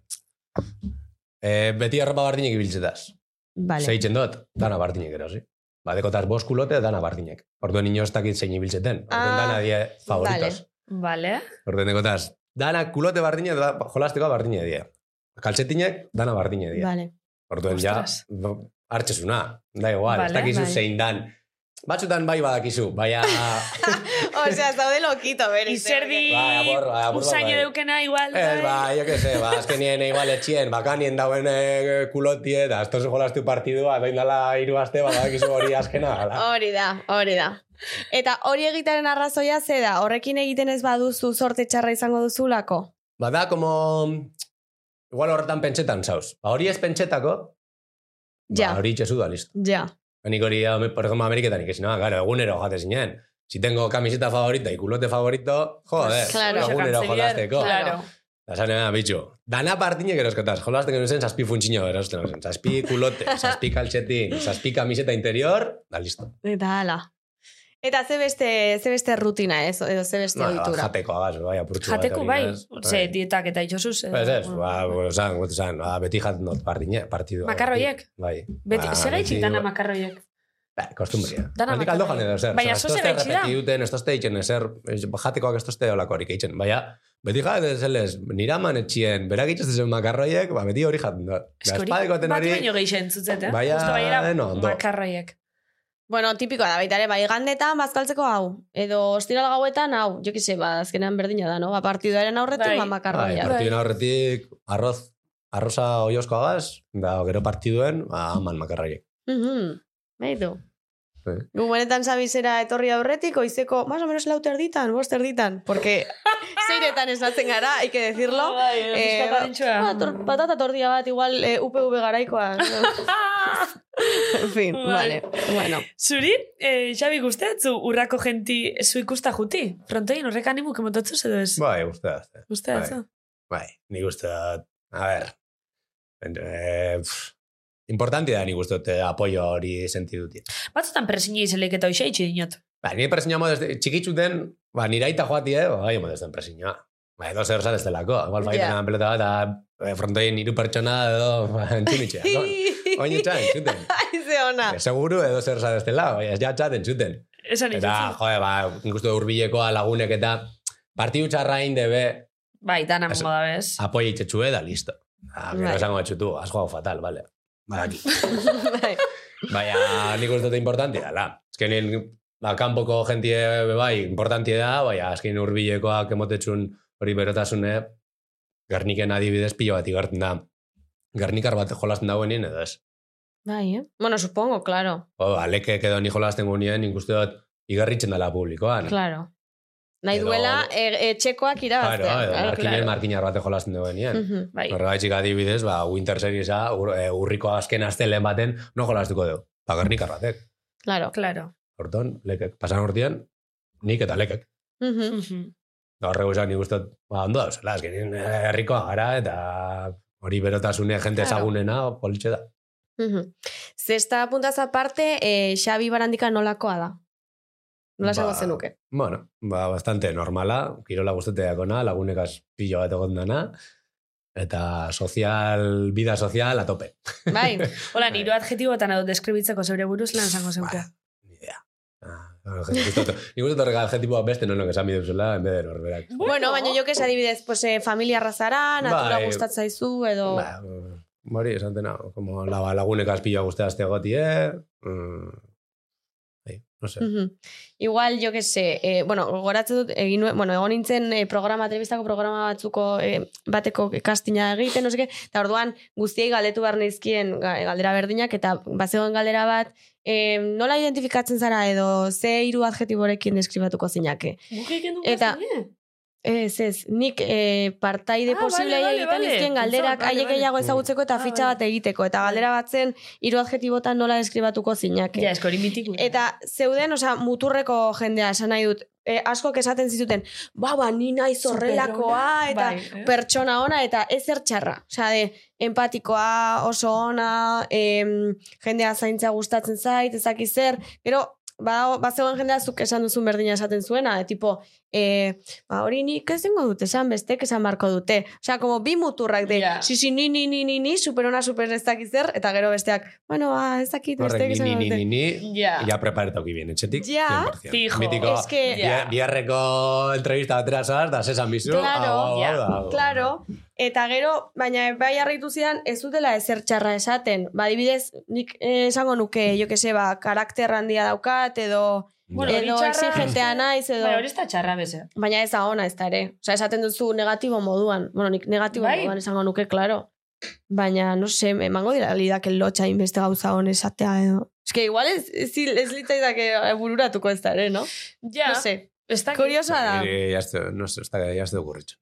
S6: Eh, beti arropa bardinek ibiltzetaz.
S2: Vale.
S6: Zeitzen dut, dana bardinek erosi. Ba, dekotaz bost kulote, dana bardinek. Orduen ino ez dakit zein ibiltzeten. Orduen
S2: Ah,
S6: dana die favoritos.
S4: Vale.
S6: Orduen dekotaz, dana kulote bardine, da, jolasteko bardine die. Kaltzetinek, dana bardine die.
S2: Vale.
S6: Orduen ja,
S4: Ostras.
S6: bo- hartxezuna. Da igual, ez
S4: Vale,
S6: dakizu
S2: bai.
S6: zein dan. Batzutan bai badakizu,
S2: (laughs) (laughs)
S6: baina...
S2: O
S6: (laughs)
S2: sea, zaude lokito, berez.
S4: Izerdi,
S6: Bai, apur, bai, apur bat,
S4: usain
S6: bai.
S4: edeukena igual.
S6: Ez,
S2: Bai.
S6: ba, jo que se, ba, azkenien igual etxien, bakanien dauen eh, kulotie, da, esto se jolastu partidua, doin dala iru aste, ba, badakizu hori azkena, gala.
S2: Hori da, hori da. Eta hori egitaren arrazoia ze da, horrekin egiten ez baduzu sorte txarra izango duzulako?
S6: Ba, da, como... Igual horretan pentsetan zauz. Ba, hori ez pentsetako,
S2: Ja,
S6: ba, hori itxezu da, listo.
S2: ja.
S6: Nik hori, ame- por ejemplo, Ameriketan ikasi nada, claro, egunero jate zinen. Si tengo camiseta favorita y culote favorito, joder,
S2: claro.
S6: egunero jolasteko.
S4: Claro.
S6: Da zanean, bitxo, dana partinek eroskotaz, jolasten genuen zen, zazpi funtxino erosten genuen zen, zazpi culote, zazpi kaltxetin, zazpi camiseta interior, da listo.
S2: Eta hala. Eta ze beste, ze beste rutina ez, edo ze beste
S6: Ba,
S2: ohitura.
S6: jateko agaz, bai, apurtxu bat.
S4: Jateko
S6: hori,
S4: bai,
S6: ez?
S4: ze
S6: Bai.
S4: dietak eta itxosuz.
S6: Ez ez,
S4: bai.
S6: ba, bueno, zan, gotu zan, ba, beti jaten dut partine, partidua.
S4: Makarroiek?
S6: Bai.
S4: Beti,
S6: Ba,
S4: zer gaitxik
S6: beti-
S4: dana makarroiek?
S6: Ba, kostumbria.
S4: Dana
S6: Handik aldo jan edo zer.
S4: Baina
S6: Osea,
S4: zoze
S6: ez toste
S4: gaitxi da.
S6: errepeti duten, ez toste itxen ezer, ez, jatekoak ez toste olakorik itxen. Baina, beti jaten zelez, niraman etxien, berak itxatzen zen makarroiek, ba, beti hori Ba, jaten dut. Da,
S4: Eskori,
S6: espadekoten
S4: bat
S6: hori,
S4: baino geixen zutzet, eh?
S6: Baina,
S4: Justo baiera
S6: deno, ondo.
S4: makarroiek.
S2: Bueno, tipikoa da baita ere, bai gandetan bazkaltzeko hau. Edo ostiral gauetan hau, jo kise, ba, azkenean berdina da, no? Ba, partiduaren aurretik,
S4: Bai.
S2: ba,
S6: bai,
S2: makarroia.
S6: partiduen aurretik, arroz, arroza oiozko agaz, da, gero partiduen, ba, aman makarroiek.
S2: Mhm, Beitu.
S6: Bai.
S2: Gu benetan zabizera etorri aurretik, oizeko, más o menos lau terditan, bost terditan, (laughs) porque zeiretan esatzen gara, hay que decirlo.
S4: Bai,
S2: Eh,
S4: pixka patentxoa.
S2: ba- tor- patata tortilla bat, igual eh, UPV garaikoa. (laughs) no? en fin,
S4: Bai.
S2: vale.
S6: (laughs)
S2: Bueno.
S4: Ah! Zuri, eh, Xabi, guztetzu urrako genti zu ikusta juti? Frontoin horrek animuk emototzu edo ez?
S6: Bai, guztia dazte.
S4: Guztetzu?
S6: Bai, nik uste dut, a ber, eh, pff, importanti da nik uste dut eh, apoio hori sentiduti.
S4: Batzutan presini izelek eta hoxe itxi dinot.
S6: Ba, ni presinoa modez, txikitzu den, ba, niraita joatie, ba, bai, modez den presinoa. Ba, edo zer zan ez delako. Igual, bai,
S2: Ja.
S6: yeah. pelota bat, eh,
S2: (laughs)
S6: eta frontoien hiru pertsona edo ba, entzunitxea. Oin etxan, entzuten.
S2: Ai, ze ona.
S6: Seguru edo zer zadeztela, bai, ez jatxat entzuten.
S4: Esan
S6: Eta,
S4: izan.
S6: joe, ba, nik uste hurbilekoa lagunek eta partidu txarra indebe
S4: Bai, dana
S6: Esan- Ah.
S4: moda bez.
S6: apoia itxetxue da, listo. Ah, gero
S2: Bai.
S6: esango etxutu, has jugado fatal, vale. Badaki.
S2: Bai.
S6: Baina, nik uste dut importanti dela. Ezkenin, ba, kanpoko jentie be bai, importanti da, baina azken urbilekoak emotetxun hori berotasune, Gerniken adibidez pilo bat igartzen da. Gernikar bat jolasten dagoenien edo ez.
S2: Bai, eh? Bueno, supongo, claro.
S6: O, aleke edo ni jolasten gunien, nik uste dut, igarritzen dela publikoan.
S2: Claro. Nahi
S6: Edo-
S2: duela e, etxekoak
S6: Claro, eh,
S2: irabaztea.
S6: edo markinen
S4: claro.
S6: markinar bat jolasten duenien.
S2: Mhm.
S4: Bai.
S6: Horregatik adibidez, ba, Winter Seriesa, ur, eh, urriko azken astelen baten, no jolastuko dugu. Ba, Gernikar batek.
S2: Claro.
S4: Claro.
S6: Horton, lekek. Pasan urtean, nik eta lekek.
S2: Mhm.
S6: Da, horrego esan nik uste, dut, ba, ondo dauzela, azkenin eh, herrikoa gara, eta hori berotasune jente
S2: Claro.
S6: ezagunena, politxe da.
S2: Mhm. Zesta apuntaz aparte, eh, Xabi Barandika nolakoa da? Nola esango
S6: Ba.
S2: zenuke?
S6: Bueno, ba, bastante normala, kirola gusteteakona, lagunekaz pilo bat egon dana, eta sozial, vida sozial a tope. (laughs)
S2: Bai,
S4: Hola, nire adjetibotan edo deskribitzeko zeure buruz lan zango zeuke.
S6: Ba. Ni idea. Ah, nik uste dut- (laughs) nik uste dut horrega adjetipoa beste nonok esan bidezula, en vez de norberak.
S2: Bueno, baina jo que adibidez, pues, eh, familia razara, natura
S6: Bai.
S2: gustatzaizu, edo...
S6: Ba, hori esan dena, como la, lagunek azpila guztia azte goti, eh? Mm, bai, no sé.
S2: Mhm. Igual, jo que sé, eh, bueno, gogoratzen dut, egin nuen, bueno, egon nintzen eh, programa, telebistako programa batzuko eh, bateko kastina egiten, no seke, eta orduan guztiei galdetu behar nizkien ga- galdera berdinak, eta bazegoen galdera bat, eh, nola identifikatzen zara edo ze hiru adjetiborekin deskribatuko zinake. Eta-
S4: Eta...
S2: Ez, ez, nik eh, partaide
S4: Ah,
S2: posiblea
S4: vale, vale,
S2: egiten
S4: vale.
S2: nizkien
S4: Pentsau,
S2: galderak
S4: vale,
S2: haiek
S4: vale.
S2: gehiago ezagutzeko eta
S4: Ah,
S2: fitxa
S4: vale.
S2: bat egiteko, eta galdera bat zen, hiru adjetibotan nola deskribatuko zinake.
S4: Ja, eskori mitiku.
S2: Eta zeuden, osea, muturreko jendea esan nahi dut, e, askok esaten zituten, ba, ba, ni naiz horrelakoa,
S4: Bai.
S2: eta pertsona ona, eta ezer txarra. Osea, de, empatikoa, oso ona, em, jendea zaintza gustatzen zait, ezaki zer, gero, ba, bazegoen jendea zuk esan duzun berdina esaten zuena, e, tipo, e, ba, hori nik ez dengo dut, esan bestek esan marko dute. Osea, como bi muturrak de,
S4: Ja.
S2: si, si, ni, ni, ni, ni, ni, superona, super ez dakit zer, eta gero besteak, bueno, ba, ez dakit,
S6: Horrek,
S2: bestek
S6: ni,
S2: esan
S6: ni,
S2: dute.
S6: ni, ni, ni,
S4: Ja.
S6: ja preparetauki bien, etxetik,
S2: Ja,
S6: 100%.
S4: fijo.
S6: Mitiko,
S2: Es que-
S6: bia- biharreko entrevista batera zaz, da sesan bizu,
S2: Claro,
S6: hau, hau,
S4: ja,
S6: hau, hau.
S2: Claro, eta gero, baina bai harritu zidan, ez dutela ezer txarra esaten. Badibidez, nik eh, esango nuke, jo que se, ba, karakter handia daukat, edo,
S4: Bueno, hori
S2: edo
S4: txarra-
S2: exigentea naiz, edo...
S4: Bai, hori ez da txarra bez, eh?
S2: Baina ez da ona ez da ere. Osa, esaten duzu negatibo moduan. Bueno, nik negatibo
S4: Bai.
S2: moduan esango nuke, claro. Baina, no se, emango dira lidak lotxa inbeste gauza hon esatea edo. Ez que igual ez, ez, ez litzaidak eh, bururatuko ez da ere, no?
S4: Ja,
S2: No se.
S4: ez da...
S2: Kuriosa da.
S6: Niri jazte- no sé, ez da, jazte okurritxo.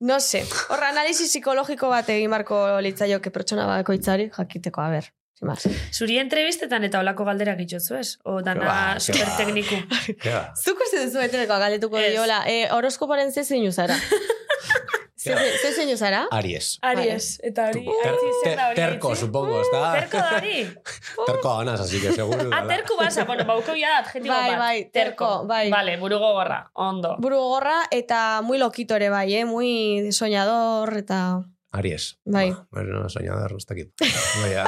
S2: No se. Horra, analisi psikologiko bat egin marko litzaioke pertsona bakoitzari jakiteko, a ber. sin más.
S4: Zuri entrevistetan eta olako galderak itxotzu ez? O
S6: Ba,
S4: dana super (laughs) tekniku.
S6: Ke ba?
S2: Zuk uste duzu eteneko galdetuko
S4: Ez.
S2: diola, e, horoskoporen ze zeinu (laughs) zara? ze, ze- ze zeinu zara?
S6: Aries.
S2: Ah.
S4: Aries, eta hori...
S6: Ter-
S4: hori zer da
S6: ter-
S4: hori,
S6: Terko,
S4: itzi?
S6: supongo, ez da?
S4: Terko da
S6: (laughs)
S4: hori.
S6: Terko ganaz, así que seguro.
S4: Ah,
S6: dela.
S4: terko basa, bueno, bauko ya adjetibo
S2: Bai,
S4: bat.
S2: bai, terko, bai.
S4: Vale, burugo gorra, ondo.
S2: Buru gorra eta muy lokito ere bai, eh? Muy soñador eta...
S6: Aries.
S2: Bai.
S6: Ba, Bueno, soñador, ez dakit.
S2: (laughs)
S6: Baina,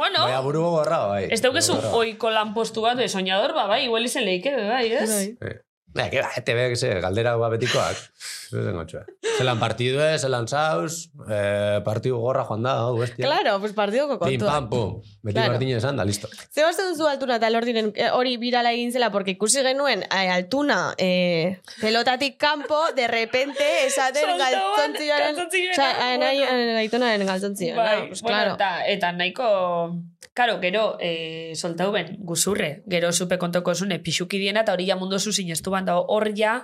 S4: Bueno,
S6: baina buru gorra, bai.
S4: ez daukezu
S6: Buru gorra.
S4: oiko lanpostu bat, eh, soñador, ba, bai, igual izen leike, bai, ez?
S2: Bai.
S6: Ba, que ba, ete bek, ze, galdera hua betikoak. Zuzen gotxoa. Zelan partidue, zelan sauz, eh, partidu gorra joan da, hau, bestia.
S2: Claro, pues partidoko
S6: Pim,
S2: kontua.
S6: pam, pum. Beti
S2: Claro.
S6: Martínez esan da, listo.
S2: Ze uste duzu altuna eta lordiren eh, hori birala egin zela, porque ikusi genuen eh, altuna eh, pelotatik kanpo, de repente, esaten
S4: Soltauan,
S2: galtzontzioaren...
S4: galtzontzioiaren,
S2: Osa, anai,
S4: bueno.
S2: anaitonaren galtzontzioa.
S4: Bai,
S2: no? pues,
S4: bueno,
S2: claro.
S4: eta, eta nahiko... Karo, gero, eh, soltau ben, guzurre. Gero, supe kontoko zune, pixuki diena, eta hori ja mundu zu sinestu ban, da hor ja...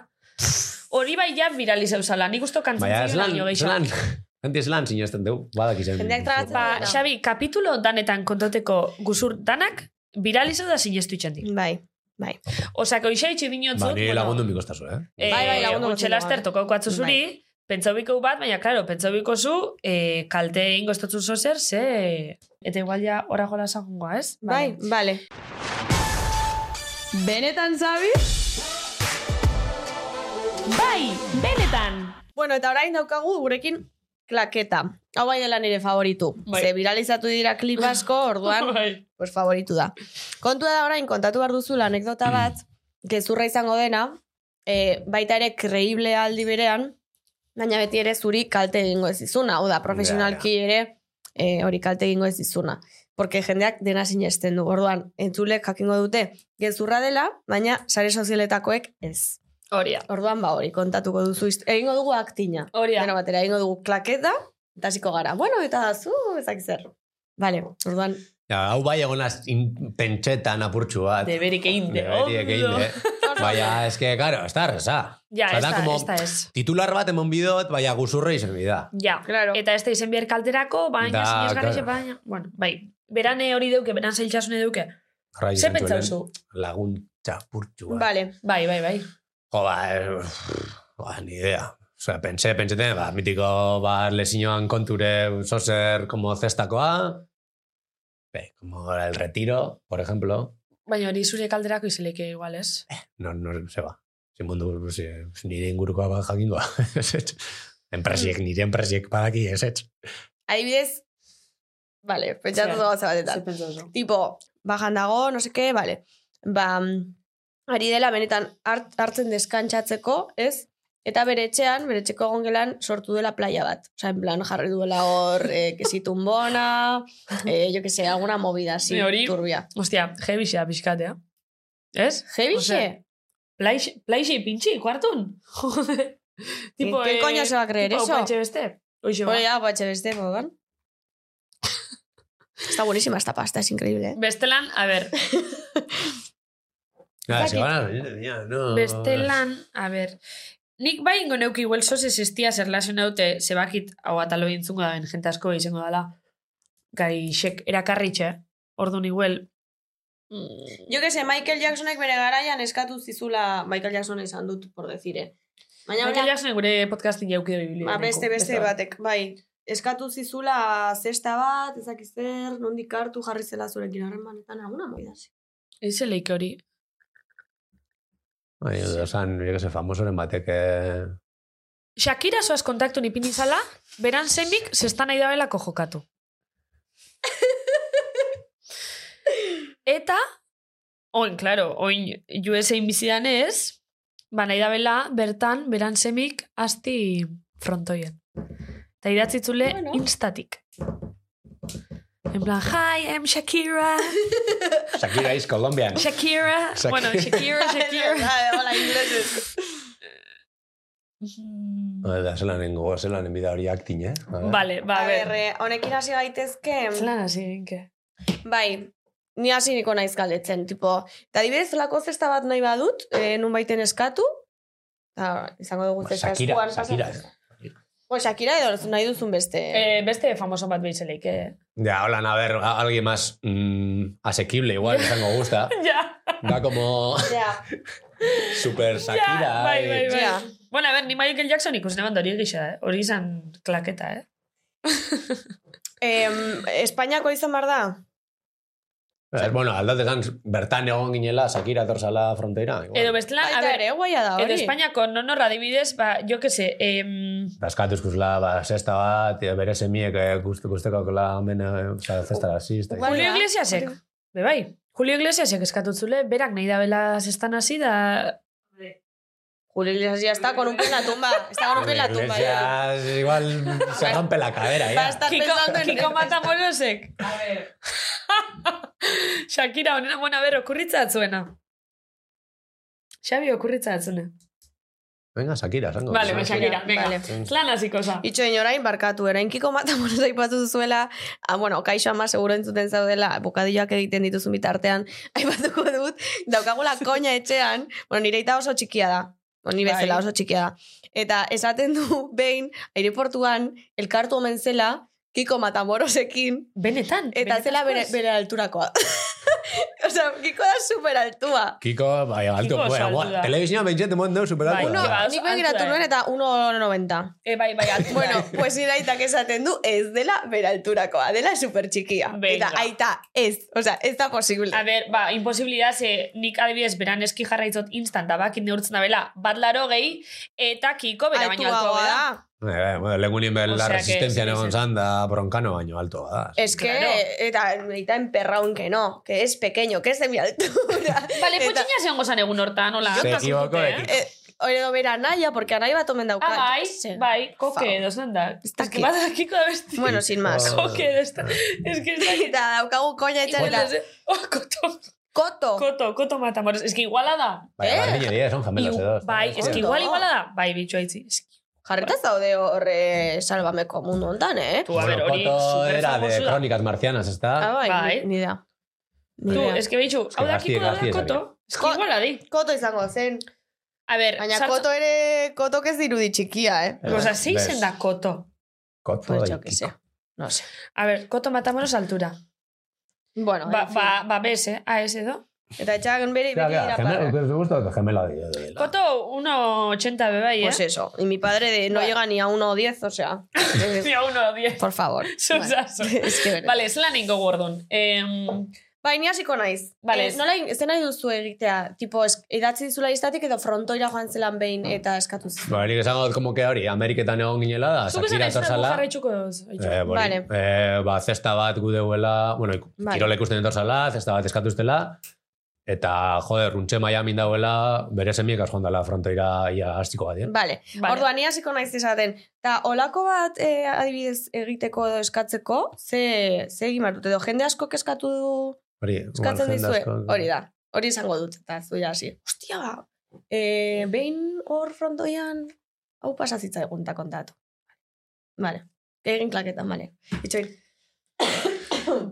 S4: Hori bai ja viralizeu zala, nik usto kantzen
S6: Baina,
S4: zion
S6: eslan,
S4: baino gehiago.
S6: eslan, anti eslan sinesten dugu, badak izan.
S2: Jendeak tragatzen
S4: Ba,
S2: Bueno.
S4: Xabi, kapitulo danetan kontoteko guzur danak, viralizeu da sinestu itxendik.
S2: Bai.
S4: Osako isa itxi dinotzut...
S6: Ba, nire
S4: bueno,
S6: lagundu mikostazu, eh?
S4: Eh,
S2: Bai, bai, lagundu
S4: gutxe
S2: gutxi
S4: laster
S2: lagundu. Bai.
S4: tokauko atzu zuri, pentsaubiko bat, baina, claro, pentsaubiko zu, eh, kalte ingo estotzu zozer, ze... Eta igual ja horra jola zangoa, ez?
S2: Bai, vale.
S7: Benetan, Xabi? Bai, benetan.
S4: Bai,
S2: Bueno, eta orain daukagu gurekin klaketa. Hau bai dela nire favoritu.
S4: Bai.
S2: Ze viralizatu dira klip asko, orduan,
S4: Bai.
S2: pues favoritu da. Kontua da orain, kontatu behar duzula
S4: (clears throat)
S2: anekdota bat, gezurra izango dena, e, baita ere kreible aldi berean, baina beti ere zuri kalte egingo ez izuna, hau da, profesionalki ere e, hori kalte egingo ez izuna. Porque jendeak dena sinesten du, orduan, entzulek jakingo dute gezurra dela, baina sare sozialetakoek ez.
S4: Hori da.
S2: Orduan ba hori, kontatuko duzu, hist- egingo dugu aktina.
S4: Hori
S2: Dena
S4: da.
S2: batera, egingo dugu klaketa, eta hasiko gara. Bueno, eta zu, ezak zer. Vale, orduan,
S6: Ja, hau bai egonaz in- pentsetan apurtxu bat.
S4: Deberik egin de.
S6: Deberiek egin de. Baina, eske, karo, ez da reza.
S4: Ja,
S6: Osa,
S4: ez
S6: da
S4: da,
S6: como
S4: ez da ez.
S6: Titular bat emon bidot, baina guzurre izan bida.
S4: Ja,
S2: Claro.
S4: eta ez da izen behar kalterako, baina,
S6: Da,
S4: sinesgarri
S6: claro.
S4: baina, bueno, bai, berane hori deuke, beran zailtasune deuke.
S6: Jarrai
S4: Ze
S6: izan
S4: pentsau
S6: zuen
S4: zu?
S6: Laguntza apurtxu bat.
S2: vale.
S4: Bai, bai, bai.
S6: Jo, ba, eh, ba, ni idea. Osea, pentsa, pentseten, ba, mitiko, ba, lesinoan konture, zozer, como zestakoa, be, como el retiro, por ejemplo,
S4: Baina hori zure kalderako izeleke igual, ez?
S6: no, no, se ba, sin eh, mundu, ze- nire ingurukoa ba, (laughs) jakingoa, esetz. Enpresiek, nire enpresiek badaki, esetz.
S2: Adibidez, vale, pentsatu
S4: Zer?
S2: dugu gauza batetan.
S4: pentsau
S2: Tipo, bajan dago, no seke, vale. Ba, mm, ari dela benetan hart, hartzen deskantzatzeko, ez? Eta bere etxean, bere etxeko egongelan sortu dela playa bat. Osa, en plan, jarri duela hor, eh, kesi tumbona, eh, jo que se, alguna movida así,
S4: Ni hori-
S2: turbia.
S4: Ostia, jebixea pixkatea. Ez?
S2: Jebixe?
S4: Plaixe, plaixe pintxi, (laughs) kuartun. Jode. tipo, eh,
S2: ¿Qué coño se va a creer
S4: tipo,
S2: eso?
S4: Tipo, beste. Oixo,
S2: Bueno,
S4: ba.
S2: ya, guatxe beste, modan. Está buenísima esta pasta, es increíble, eh?
S4: Bestelan, a ber,
S6: Nada,
S4: Badakit.
S6: se van a... ya, no.
S4: bestelan, a ber, nik bai ingo neuki igual sozes estia zer lasen daute, zebakit hau atalo intzungo da ben, jente asko bai izango dala, gaixek erakarritxe, ordu igual, mm,
S2: Jo que se, Michael Jacksonek bere garaian eskatu zizula Michael Jacksona izan dut, por decir, eh? Baina,
S4: Michael
S2: baina,
S4: Jackson gure podcastin jauki da biblia.
S2: ba, beste, beste batek, bai. Eskatu zizula zesta bat, ezakiz zer, nondik hartu jarri zela zurekin harremanetan, alguna moidaz.
S4: Eze leik hori.
S6: Ay, osan, yo que se, famosoren batek... eh,
S4: Shakira soaz kontaktu nipin izala, beran zenbik zestan nahi dabelako jokatu. Eta, oin, klaro, oin USA-in bizidan ez, ba nahi dabela bertan beran zenbik asti frontoien. Eta idatzitzule
S2: Bueno.
S4: instatik. En plan, hi, I'm Shakira,
S6: Shakira is Colombian.
S4: Shakira,
S6: Shakira.
S4: bueno,
S2: (laughs)
S4: Shakira, Shakira.
S2: Hola, ingleses.
S4: (laughs)
S6: Da, zelan nengo, zelan enbida hori aktin, eh? A ver.
S4: Vale, ba,
S2: A ber,
S4: ber.
S2: eh, honekin hasi gaitezke...
S4: Zelan hasi ginke.
S2: Bai, ni hasi niko naiz galdetzen, tipo, eta adibidez, lako zesta bat nahi badut, e, nun baiten eskatu, eta izango dugu
S6: Ba,
S2: zesta
S6: Shakira,
S2: eskuan
S6: Shakira.
S2: pasatzen. Bo, Shakira edo nahi duzun beste.
S4: Eh, beste famoso bat behitzelik, eh?
S6: Ya, hola, a ver, a- alguien más mm, asequible igual, izango gusta.
S4: (laughs) Ja,
S6: Da como
S2: Ja,
S6: super Shakira.
S4: ja, bai,
S6: eh.
S4: bai, bai.
S2: Ja.
S4: Bueno, a ber, ni Michael Jackson ikusen eban da hori gisa, eh? Hori izan klaketa, eh?
S2: em, Espainiako izan bar da?
S6: Eh, bueno, aldate zan, bertan egon ginela Shakira torzala fronteira. Igual.
S4: Edo bestela, a
S2: Baita
S4: ber,
S2: ere, guaia da
S4: edo
S2: hori.
S4: Espainiako nonorra adibidez, ba, jo que se, em,
S6: Daskatu eskuzla, ba, zesta bat, eh, bere semiek eh, guztu guztekakela mena, oza, zesta rasista.
S2: Igual-
S4: Julio
S2: da,
S4: Iglesiasek,
S2: hori.
S4: be bai, Julio Iglesiasek eskatutzule, berak nahi da bela zestan hasi da...
S2: Julio Iglesias ya está con un pie en la tumba. Está con un pie en la tumba. ya.
S6: Iglesias, igual se rompe la cadera,
S2: Va a
S6: ya.
S2: estar
S4: Kiko,
S2: pensando en...
S4: Kiko Matamorosek. A ver. (laughs) Shakira, honen amona ber, okurritza atzuena. Xabi, okurritza atzuena.
S6: Venga, Shakira, zango.
S4: Vale, ba, Shakira, venga.
S2: Vale.
S4: Lan hasiko za.
S2: Itxo inorain, barkatu, erain kiko matamoros (laughs) aipatu duzuela, ah, bueno, kaixo ama seguro entzuten zaudela, bokadilloak egiten dituzun bitartean, (laughs) aipatuko dut, daukagula koña etxean, bueno, nire ita oso txikia da, Bueno, ni bezala
S4: Bai.
S2: oso txikia da. Eta esaten du, behin, aireportuan, elkartu omen zela, Kiko Matamorosekin,
S4: Benetan.
S2: eta
S4: benetan
S2: zela bere,
S4: pues.
S2: bere alturakoa. (laughs) Osea, Kiko da super altua.
S6: Kiko, bai, alto,
S4: Kiko oso
S6: bueno,
S4: altua.
S6: guau, telebizioan bentsete mondo superaltua.
S4: Bai,
S2: Uno,
S4: ba, oso
S2: nik begiratu
S4: altua, eh.
S2: nuen eta 1,90.
S4: Eh, bai, bai, altu.
S2: Bueno, pues nire aitak esaten du ez dela bera alturakoa, dela super txikia.
S4: Venga.
S2: Eta aita ez, o sea, ez da posible.
S4: A ber, ba, imposibilidad, ze nik adibidez beran eski jarraitzot instant, da bakin neurtzen da bela, bat laro gehi, eta kiko bera baino altua
S2: Altuagoa
S4: da.
S2: da.
S6: Bai, bai, bueno, leku nivel
S4: Osea,
S6: la
S4: que
S6: resistencia
S4: sí,
S6: egon
S4: sí.
S6: zan da broncano baino alto da.
S2: Es que,
S4: Claro.
S2: eta medita enperraun que no, que es pequeño, que es de mi (laughs) altura.
S7: Bale,
S2: Eta-
S7: putxina zeongo zan egun hortan, hola.
S6: Se
S4: Jokasun
S6: equivocó
S4: dute,
S6: de
S4: eh?
S6: equipo.
S2: Eh, hori edo bera naia, porque anai bat omen dauka.
S4: Ah, bai,
S2: Ze-
S4: bai, koke
S2: Fau.
S4: edo zen da. Bai,
S2: Ez
S4: Ez
S2: dakit.
S4: que badakiko da
S6: (laughs)
S4: besti.
S2: Bueno, sin
S4: (laughs)
S2: más.
S6: Oh.
S4: Koke edo ez da. Ez que ez dakit.
S2: (laughs) Eta daukagu koña
S4: Igual
S2: etxarela.
S4: ez da- Oh, koto,
S2: Koto.
S4: koto, koto matamoros. Ez que iguala da.
S6: Bai,
S2: eh,
S6: bardineria, son ¿eh? gemelos
S4: Iu-
S6: edo.
S4: Bai, ez que
S2: Koto.
S4: igual iguala da. Bai, bitxo haitzi. Ez que, Bai.
S2: Jarretaz daude horre salvameko mundu ontan, eh?
S4: tu, a ber, hori
S6: Koto era de
S4: superfamosu da.
S6: crónicas marcianas,
S2: Ah,
S6: está.
S2: bai,
S4: Bai.
S2: ni, ni da. Ni
S4: Tu,
S2: da.
S4: ez que bitxo,
S6: que
S4: hau
S6: gazti-
S4: dakiko da
S6: gazti esaria.
S4: koto. Ez que
S2: Ko-
S4: iguala di.
S2: Koto izango zen.
S4: A ber,
S2: Baina
S4: sartu-
S2: koto ere, koto ez dirudi txikia, eh?
S6: Eh,
S4: Osa, zei
S6: ves.
S4: zen da koto.
S6: Koto
S2: Pues
S6: de
S2: yo que sé.
S6: Kiko.
S2: No sé.
S4: A ber, koto matamoros altura.
S2: Bueno,
S4: Ba,
S2: en fin.
S4: ba, ba, bez, eh? Ah, ez edo.
S2: Eta etxagan bere,
S6: Claro,
S2: beti
S6: claro,
S2: dira
S6: gemelo,
S2: parra.
S6: pero te gusta que gemelo de.
S4: Koto, 1,80 bebai, eh?
S2: Pues eso. Y mi padre de no
S4: Ba-
S2: llega ni a 1.10, o sea.
S4: (laughs)
S2: entonces,
S4: Mira, 1,10.
S2: Por
S4: (laughs)
S2: favor.
S4: Zozazo.
S2: (laughs) Es que verdad.
S4: Vale, zelan ingo gordon. Eh,
S2: Bai, ni hasiko naiz.
S4: Vale.
S2: Eh, nola, in- ze nahi duzu egitea? Tipo, es, idatzi dizula listatik edo frontoira joan zelan behin
S4: Bai.
S2: eta eskatu zizun.
S6: Ba, nik esango dut como que hori, Ameriketan egon ginela da,
S4: Zuk esan
S6: Shakira
S4: ez da
S6: etortzala.
S4: jarraitzuko doz.
S6: Eh, bori,
S2: Vale.
S6: eh, ba, zesta bat gudeuela, bueno, ik-
S2: Vale.
S6: kirola ikusten etortzala, zesta bat eskatuztela, eta, joder, runtxe Miami dauela, bere semiek joan dela frontoira ia hastiko badien.
S2: Vale.
S4: Vale.
S2: Orduan, ni hasiko naiz esaten. Ta, olako bat eh, adibidez egiteko edo eskatzeko, ze, ze egin behar dut, edo jende asko eskatu du,
S6: Hori,
S2: eskatzen
S6: igual jende
S2: dizue.
S6: asko-
S2: Hori da. Hori izango dut, eta zu ja hasi. Hostia, ba. Eh, behin hor frontoian, hau pasazitza egun eta kontatu. Vale. Egin klaketa, vale. Itxoin.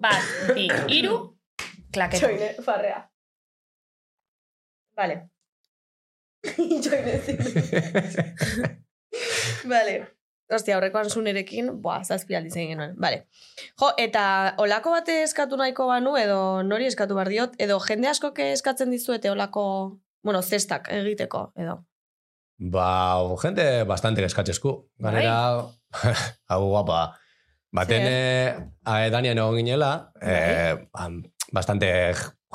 S4: Bat, bi, iru, klaketa.
S2: Joine, farrea. Vale. (laughs) Joine, (laughs) Vale. Ostia, horrekoan zunerekin, boa, zazpi aldiz egin genuen. Vale. Jo, eta olako bate eskatu nahiko banu, edo nori eskatu behar diot, edo jende askok eskatzen dizuete olako, bueno, zestak egiteko, edo.
S6: Ba, jende bastante eskatzesku. Ganera, (laughs) hau guapa. Baten,
S2: Zer?
S6: eh, a- Danian egon ginela, eh, am- bastante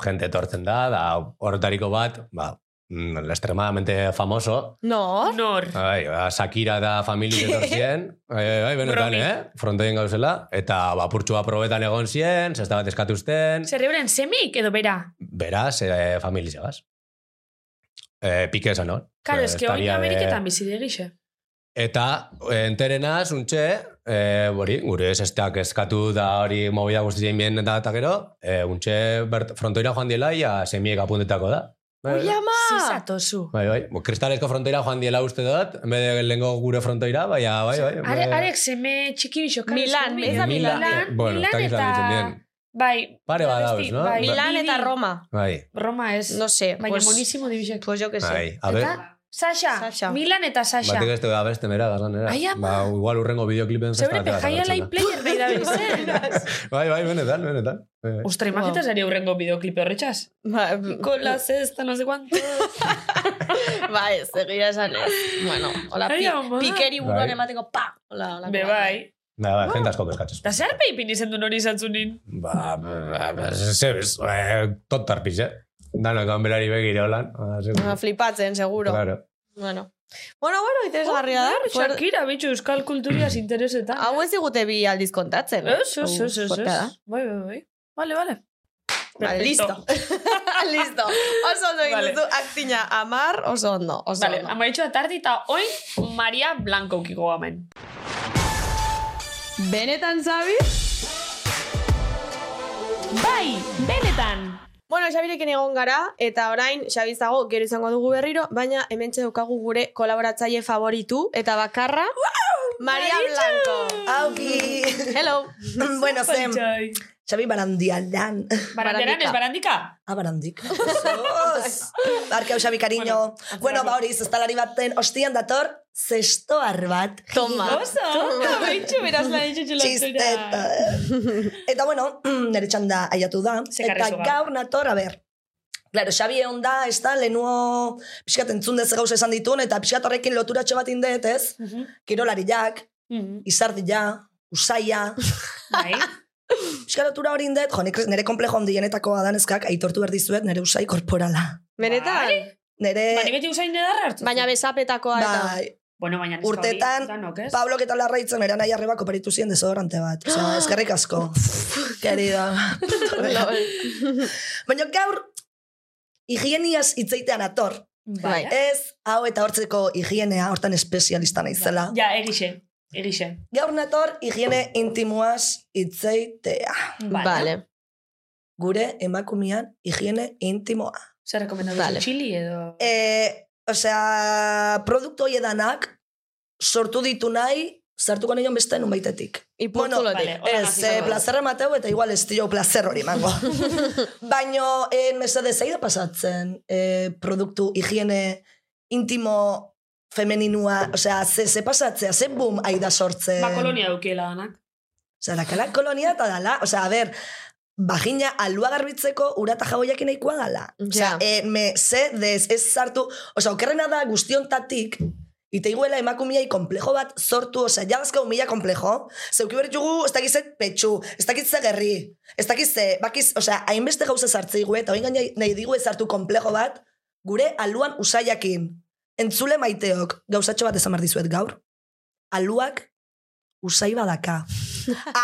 S6: jente etortzen da, da horretariko bat, ba, mm, extremadamente famoso,
S2: No?
S4: Nor.
S6: Bai, ba, Shakira da familia etor zien. Bai, bai, bai, benetan,
S4: Bromi.
S6: eh? Frontoien gauzela. Eta bapurtxua probetan egon zien, zesta bat eskatuzten.
S4: Zer euren semik edo bera?
S6: Beraz, eh, familia zegaz. Eh, pike esan hor.
S4: Karo,
S6: Eh,
S4: eske hori
S6: estaria de-
S4: Ameriketan bizi degixe.
S6: Eta eh, enterena, zuntxe, eh, hori, gure zestak eskatu da hori mobila guztien bien eta eta gero, eh, untxe bert, frontoira joan diela, ia semiek apuntetako da. Bai, bai.
S2: Ui, ama!
S4: Zizatozu.
S6: Bai, bai. Bo, Kristalezko frontoira joan diela uste dut, en vez de lengo gure frontoira, baina, bai, bai.
S4: Are,
S6: bai.
S4: arek seme txiki bixo. karo,
S2: Milan,
S4: eske
S2: ez da Milan.
S6: eh, bueno,
S4: Milan
S6: eta...
S4: eta... Bai.
S6: Pare bat
S4: beste,
S6: dauz, no?
S4: bai.
S2: Milan
S4: Bibi.
S2: eta Roma.
S6: Bai,
S4: Roma ez.
S2: No sé.
S4: Baina
S2: pues,
S4: monísimo dibixek.
S2: Pues yo que sé.
S6: bai. A ber,
S4: Eta Sasha.
S2: Sasha.
S4: Milan eta Sasha.
S6: batek ez da beste mera, gazanera.
S4: Ai, ama.
S6: Ba, igual urrengo bideoklipen
S4: Zeure
S6: atera
S4: pejaia lai
S6: pertsona.
S4: player nahi da bezen.
S6: (laughs) Bai, bai, benetan, benetan. Bai, bai.
S4: Ostra, imagita zari aurrengo bideoklipe horretxaz.
S2: Ba,
S4: Con la cesta, no sé cuánto.
S2: (laughs) Ba ez, egia esan ez. Bueno, hola,
S4: Ai,
S2: pi,
S4: ama.
S2: pikeri buruan
S6: Bai.
S2: emateko, pa! Hola, hola.
S4: (laughs) Bai, Be bai.
S6: Ba, bai, jente asko bezkatzez.
S4: Da zer peipin izen du nori izatzunin?
S6: Ba, ba, ba, zebez, eh, tontar pixe. Dano, egon berari begire holan. Ah, seguro.
S2: Ah, flipatzen, seguro.
S6: Claro.
S2: Bueno. Bueno, bueno,
S4: Oh,
S2: interesgarria da. Fuer-
S4: Shakira, bitxo, euskal
S6: (clears throat)
S4: kulturiaz interesetan.
S2: Hau ez digute bi aldiz kontatzen.
S4: Ez, ez, ez, ez, ez.
S2: Fuertea da.
S4: Bai, bai, bai. Vale, vale.
S2: Vale, listo. (laughs) listo. Oso ondo egin
S4: Vale.
S2: duzu, aktina amar, oso ondo. Oso
S4: Vale,
S2: ondo.
S4: amaitxo atardi eta oin Maria Blanco ukiko gamen.
S2: Benetan, Zabi?
S7: Bai, benetan.
S2: Bueno, Xabirekin egon gara, eta orain, Xabi zago, gero izango dugu berriro, baina hemen daukagu gure kolaboratzaile favoritu, eta bakarra, Maria Blanco.
S8: Auki!
S2: Hello.
S8: bueno, zen,
S4: Pantsai.
S8: Xabi barandialdan.
S4: Baranderan ez barandika?
S8: Ah, barandik. Sos! Barkeu, Xabi, cariño. Bueno, ba hori, zestalari baten, ostian dator, zestoar bat.
S2: Toma.
S4: Oso, amaitxo beraz la ditxo
S8: Txisteta.
S4: txelatzera.
S8: eh? (laughs) Eta bueno, (clears throat) nire txanda aiatu da.
S4: Ze
S8: Eta
S4: karrizo gara.
S8: gaur nator, a ber. Claro, Xabi egon da, ez da, lehenuo pixkat entzun dez gauza esan ditun, eta pixkat horrekin loturatxo bat indet, ez?
S4: Mhm,
S8: Kirolariak,
S4: mhm.
S8: izardila, usaia,
S4: Bai,
S8: Euskal lotura hori indet, jo, nik nire komplejo handienetakoa da neskak, aitortu behar dizuet nire usai korporala.
S2: Benetan?
S8: Nire... Eh,
S4: Ba, Bani Bai. beti usain edarra hartu.
S2: Baina besapetakoa eta...
S8: bai,
S4: Bueno, baina neska hori,
S8: Urtetan,
S4: danok, ez?
S8: Pablo eta larraitzen eran nahi arrebako paritu ziren desodorante bat.
S4: (gasps)
S8: Osea, eskerrik asko. Querida.
S4: (laughs)
S8: Baina gaur, higieniaz hitzeitean ator.
S4: Bai.
S2: Bai.
S8: Ez, hau eta hortzeko higienea, hortan espezialista naizela.
S4: Ja, erixe. Erixe.
S8: Gaur nator, higiene intimoaz hitzeitea.
S2: Vale.
S8: Gure emakumean higiene intimoa.
S4: Zer rekomendatu
S2: Vale.
S4: vale. txili edo...
S8: E, osea, produktu hori edanak sortu ditu nahi, sartuko nion beste nun baitetik.
S2: Ipurtzulotik.
S4: Bueno, Hola,
S8: Ez,
S4: gazita,
S8: e,
S4: bai.
S8: plazerra mateu eta igual ez dio plazer hori mango. Baino, e, mesede zei da pasatzen e, produktu higiene intimo femininua, osea, ze, ze pasatzea, ze boom aida sortzen.
S4: Ba, kolonia dukiela danak.
S8: Osea, dakala kolonia eta dala, osea, a ber, bagina alua garbitzeko urata jaboiak nahikoa dala. Osea,
S2: Ja.
S8: e, me, ze, dez, ez sartu, osea, okerrena da guztiontatik, ite iguela emakumiai komplejo bat sortu, osea, jadazka humila komplejo, zeuki beritugu, ez dakizet petxu, ez dakizze gerri, ez dakizze, bakiz, osea, hainbeste gauza sartze igu, eta oin gainai nahi digu ez sartu komplejo bat, gure aluan usaiakin. Entzule maiteok, gauzatxo bat esan behar dizuet gaur, aluak usai badaka.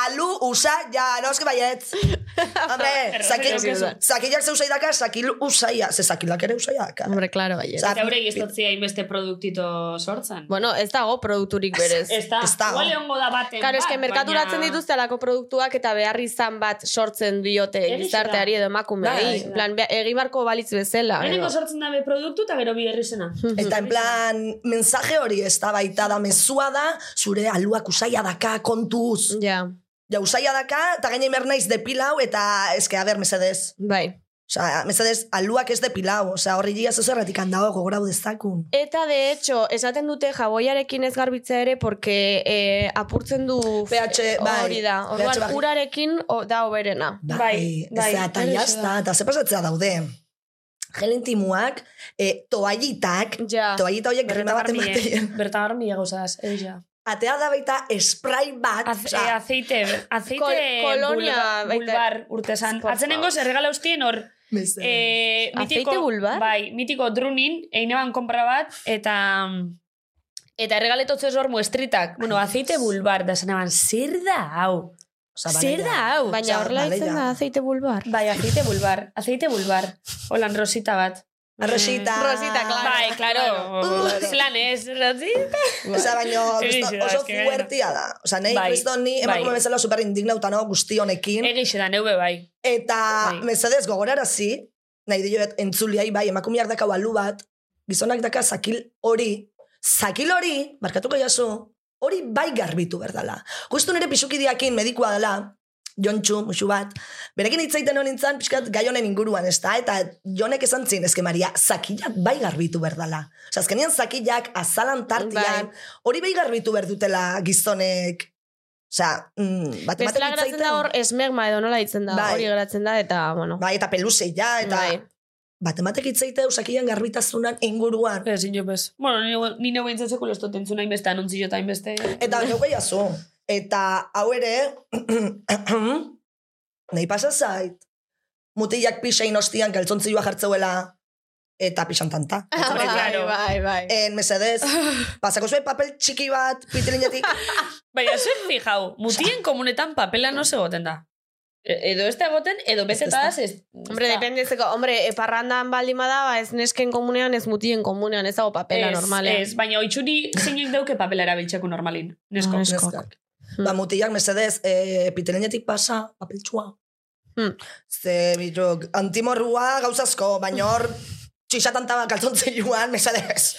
S8: Alu, usa, ja, no, eske baietz. Hombre,
S4: Erraz,
S8: saki,
S4: erraz, erraz.
S8: sakilak ze usai daka, sakil usaia. Ze sakilak ere usaia daka.
S2: Hombre, claro, bai.
S8: Sa-
S4: Eta hori estotzia inbeste produktito sortzen.
S2: Bueno, ez dago produkturik berez.
S4: Ez da,
S8: ez dago.
S4: igual egongo da baten
S2: Karo, eske
S4: bat,
S2: merkaturatzen
S4: baina-
S2: dituzte alako produktuak eta behar izan bat sortzen diote
S4: Egia da.
S2: gizarteari edo emakumeari.
S8: Bai,
S4: bai.
S2: Plan, be- egin barko balitz bezala.
S4: Lehenengo
S2: edo.
S4: sortzen dabe produktu eta gero bi herrizena.
S8: Eta en plan, mensaje hori ez da baita da, mezua da, zure aluak usaia daka kontuz.
S2: Ja,
S8: Ja, usaia daka, eta gaine mer naiz depilau, eta eske, a ber, mesedez.
S2: bai.
S8: Osa, mesedez, aluak ez depilau. Osa, horri jigaz zerretik handago, gogorau dezakun.
S2: Eta de hecho, esaten dute jaboiarekin ez garbitzea ere, porque eh, apurtzen du
S8: pH, bai.
S2: hori da.
S8: pH
S2: Orduan,
S8: baji-
S2: urarekin o, da oberena.
S8: Bai,
S4: Bai,
S8: bai,
S4: bai,
S8: eta
S4: hori
S8: jazta,
S4: da.
S8: eta ze pasatzea daude. Gel intimuak, e, toallitak,
S2: Ja,
S8: toallita horiek
S4: Bertan
S8: grima bat
S4: armile,
S8: ematean.
S4: bertan armile gauzaz, egia.
S8: Atea da baita spray bat,
S4: Az, e,
S8: osea,
S4: aceite, aceite
S2: Kol- kolonia
S4: bulba-
S2: baita-
S4: bulbar urtesan.
S2: Por
S4: Atzenengo
S2: favor.
S4: zerregala ustien hor,
S8: mesedez.
S4: e, mitiko,
S2: Aceite bulbar?
S4: Bai, mitiko drunin, egin eban kompra bat, eta... Eta erregaletotzez hor muestritak. Bueno, aceite bulbar, da zen eban, zer da hau?
S8: Osea,
S4: zer da
S8: baleia.
S4: hau?
S2: Baina
S8: Ja,
S2: horrela
S8: bale,
S2: itzen
S8: ja.
S2: da aceite bulbar.
S4: (laughs) Bai, aceite bulbar, aceite bulbar. Holan, rosita bat.
S8: Rosita.
S2: Rosita,
S4: Eh,
S2: claro.
S4: Bai, claro.
S8: Claro.
S4: Planes, rosita.
S8: Osea,
S4: (laughs)
S8: baino, kristo-
S4: Egia da,
S8: oso
S4: eske gainera.
S8: fuertia da. Osea, nahi,
S4: Bai,
S8: kristo ni, emakume
S4: bai.
S8: bezala super indignauta nago guzti honekin.
S4: Egixe da, neube bai.
S8: Eta,
S4: Bai.
S8: mesedez, gogorarazi, nahi dioet entzuliai, bai, emakumeak daka balu bat, gizonak daka zakil hori, zakil hori, barkatuko jaso, hori bai garbitu berdala. Justu nire pisukidiakin medikua dela, jontxu, musu bat, berekin hitzaiten hori nintzen, pixkat gai honen inguruan, ez da? Eta jonek esan zin, ezke Maria, zakilak bai garbitu berdala. Osa, azkenean zakilak, azalan tartian, hori bai garbitu berdutela gizonek, Osea, mm, bat
S2: Bestela geratzen da hor esmerma edo nola ditzen da.
S8: Bai.
S2: Hori geratzen da eta, bueno.
S8: Bai, eta peluzei ja, eta...
S2: Bai.
S8: Bat ematek itzeite eusakian garbitasunan inguruan.
S4: Ez, ino bez. Bueno, ni- ni neu bintzen sekulo ez dut entzuna inbeste, anuntzio eta inbeste.
S8: Eta
S2: Bai.
S8: neuke jazu. Eta hau ere, (clears throat) nahi pasa zait, mutilak pixein ostian galtzontzioa jartzeuela eta pixan tanta.
S2: (laughs)
S4: Hombre, claro.
S2: bai, bai.
S8: En
S2: (laughs)
S8: mesedez, pasako zuen papel txiki bat, pitilinetik,
S4: Baina, zuen fijau, mutien komunetan papela no egoten da. E- Edo ez da egoten, edo bezetaz ez...
S2: Hombre,
S4: ez da.
S2: dependezeko, hombre, parrandan baldin bada, ba, ez nesken komunean, ez mutien komunean, ez dago papela eh.
S4: Ez,
S2: normalean.
S4: Ez, baina oitzuri zeinek dauke papela erabiltzeko normalin. Nesko.
S2: Ah, ez. (laughs) Neskok. Hmm.
S8: neskak. Ba, mutilak mesedez, e, pitilinetik pasa, papel txua.
S2: Hmm.
S8: Ze, bitruk, antimorrua gauzazko, baina hor, txixatan taba kaltzontzen joan, mesedez.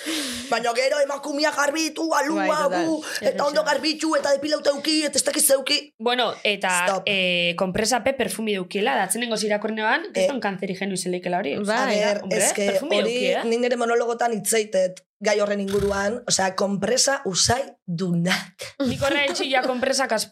S8: Baina gero emakumia garbitu,
S2: Bai,
S8: alua,
S2: total.
S8: gu, eta ondo garbitu, eta depilaute euki, eta ez dakiz zeuki.
S4: Bueno, eta
S8: Stop.
S4: eh, kompresa P perfumi dukiela, datzenen gozirakorne ban, ez da kancerigenu izelikela hori.
S2: Bai.
S8: A ber,
S4: hombre,
S8: eske
S4: perfumi
S8: eh, hori,
S4: eduki, eh?
S8: nik nire monologotan itzaitet, gai horren inguruan, osea, kompresa usai dunak.
S4: Nik horre etxi ja kompresak az,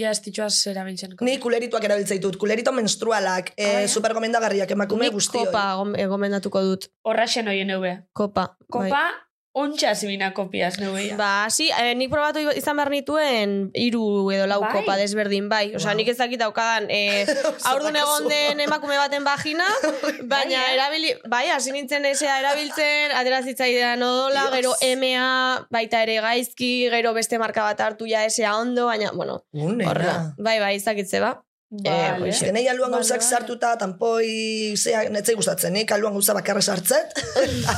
S4: ja ez ditxoaz erabiltzen.
S8: Ni kulerituak erabiltzaitut, kulerito menstrualak,
S4: Ah,
S8: e,
S4: ja.
S8: supergomendagarriak emakume
S2: Nik
S8: guztioi.
S2: kopa gom- eh, gomendatuko dut.
S4: Horra xen hoien eube.
S2: Kopa. bai.
S4: Kopa, ontsa zibina kopiaz, neueia.
S2: Ba, hasi, eh, nik probatu izan behar nituen hiru edo lau
S4: Bai.
S2: kopa desberdin, bai. Osea,
S8: Wow.
S2: nik ez dakit daukadan, eh, aurdun
S8: bakazu.
S2: egon den emakume baten vagina, baina
S4: Bai, eh?
S2: erabili, bai, hasi nintzen esea erabiltzen, aterazitzaidan odola,
S8: Dios.
S2: gero MA, baita ere gaizki, gero beste marka bat hartu ja esea ondo, baina, bueno,
S8: Une,
S2: horrela. Bai, bai, ez dakitze, ba. Eh,
S4: Vale.
S2: hoxe.
S8: Genei aluan
S4: Vale,
S8: gauzak
S4: vale.
S8: sartuta, tampoi, zea, netzei gustatzen, nik aluan gauza bakarra
S4: (laughs)
S8: sartzet. Eta-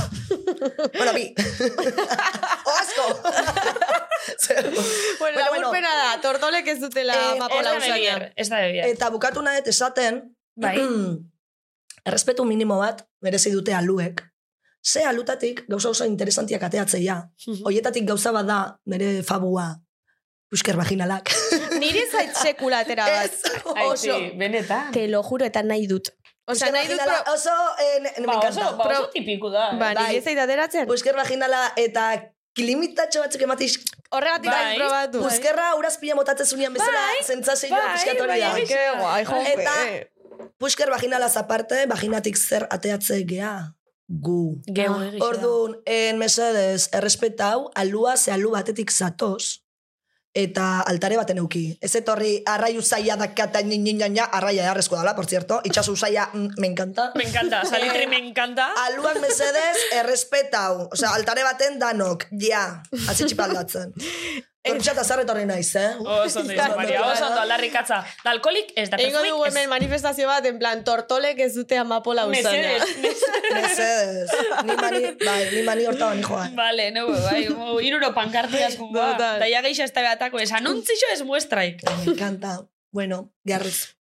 S8: bueno, bi. (laughs) o
S4: (laughs)
S8: asko. Zer-
S2: Bueno,
S8: (laughs) Bueno, bueno.
S2: laburpena da, tortolek ez dutela
S8: Eh,
S4: Ez
S2: amapola
S4: da
S2: usaian.
S4: bebier, ez da bebier.
S8: Eta bukatu nahet esaten,
S4: Bai.
S8: (clears throat) Mm. errespetu minimo bat merezi dute aluek. Ze alutatik gauza oso interesantiak
S4: (laughs)
S8: ateatzeia. Hoietatik gauza bat da nire fabua. Pusker vaginalak.
S2: Niri zait sekula
S8: (laughs)
S2: atera bat.
S4: Oso. Benetan.
S2: Te lo juro, eta nahi dut. Osea,
S8: Pusker
S2: nahi dut,
S8: vaginala
S2: pro-
S8: oso, eh, ne- ne- me
S4: Ba, oso,
S8: encanta.
S4: ba, oso
S2: Pro-
S4: tipiku da. eh?
S2: ba, niri
S8: Bai.
S2: ez zait ateratzen.
S8: Pusker vaginala eta kilimitatxo batzuk ematiz
S2: Horregatik
S4: Bai.
S2: bai, probatu.
S8: Puzkerra urazpila motatzen zunean bezala
S4: Bai,
S8: zentzazioa
S4: bai,
S8: pixkat hori
S4: bai,
S8: da.
S4: bai.
S2: Ke guai, jope.
S8: Eta- Pusker vaginala zaparte, vaginatik zer ateatze gea gu.
S4: Geu
S2: Ah,
S4: egixe da.
S8: Orduan, en mesedez, errespetau, alua ze alu batetik zatoz, eta altare baten euki. Ez etorri arraio zaila dakata ninaina, arraia jarrezko dala, por cierto, itxasu zaila, mm, me encanta.
S4: Me encanta, salitri me encanta.
S8: Aluak mesedez, errespetau. Osea, altare baten danok, ja,
S2: (laughs)
S8: hasi txipaldatzen. Hortxat azarretorri naiz, eh?
S4: Oso ondo,
S2: Ja,
S4: izan, Maria,
S2: notua,
S4: oso ondo, aldarrikatza. Da alkoholik ez da
S2: Egingo dugu
S4: perfumeik,
S2: hemen manifestazio bat, en plan, tortolek ez dute amapola
S4: ez.
S2: usana.
S4: Mesedez, mesedez.
S8: Mesedez. Ni mani, bai, ni mani horta bani
S4: (laughs)
S8: joan.
S4: Vale, no, bai, mo- iruro pankartiaz gugua. ba.
S2: Total.
S4: Da ia geixa ez da behatako, ez anuntzixo ez muestraik.
S8: Me encanta. Bueno,
S2: (laughs)
S8: garriz.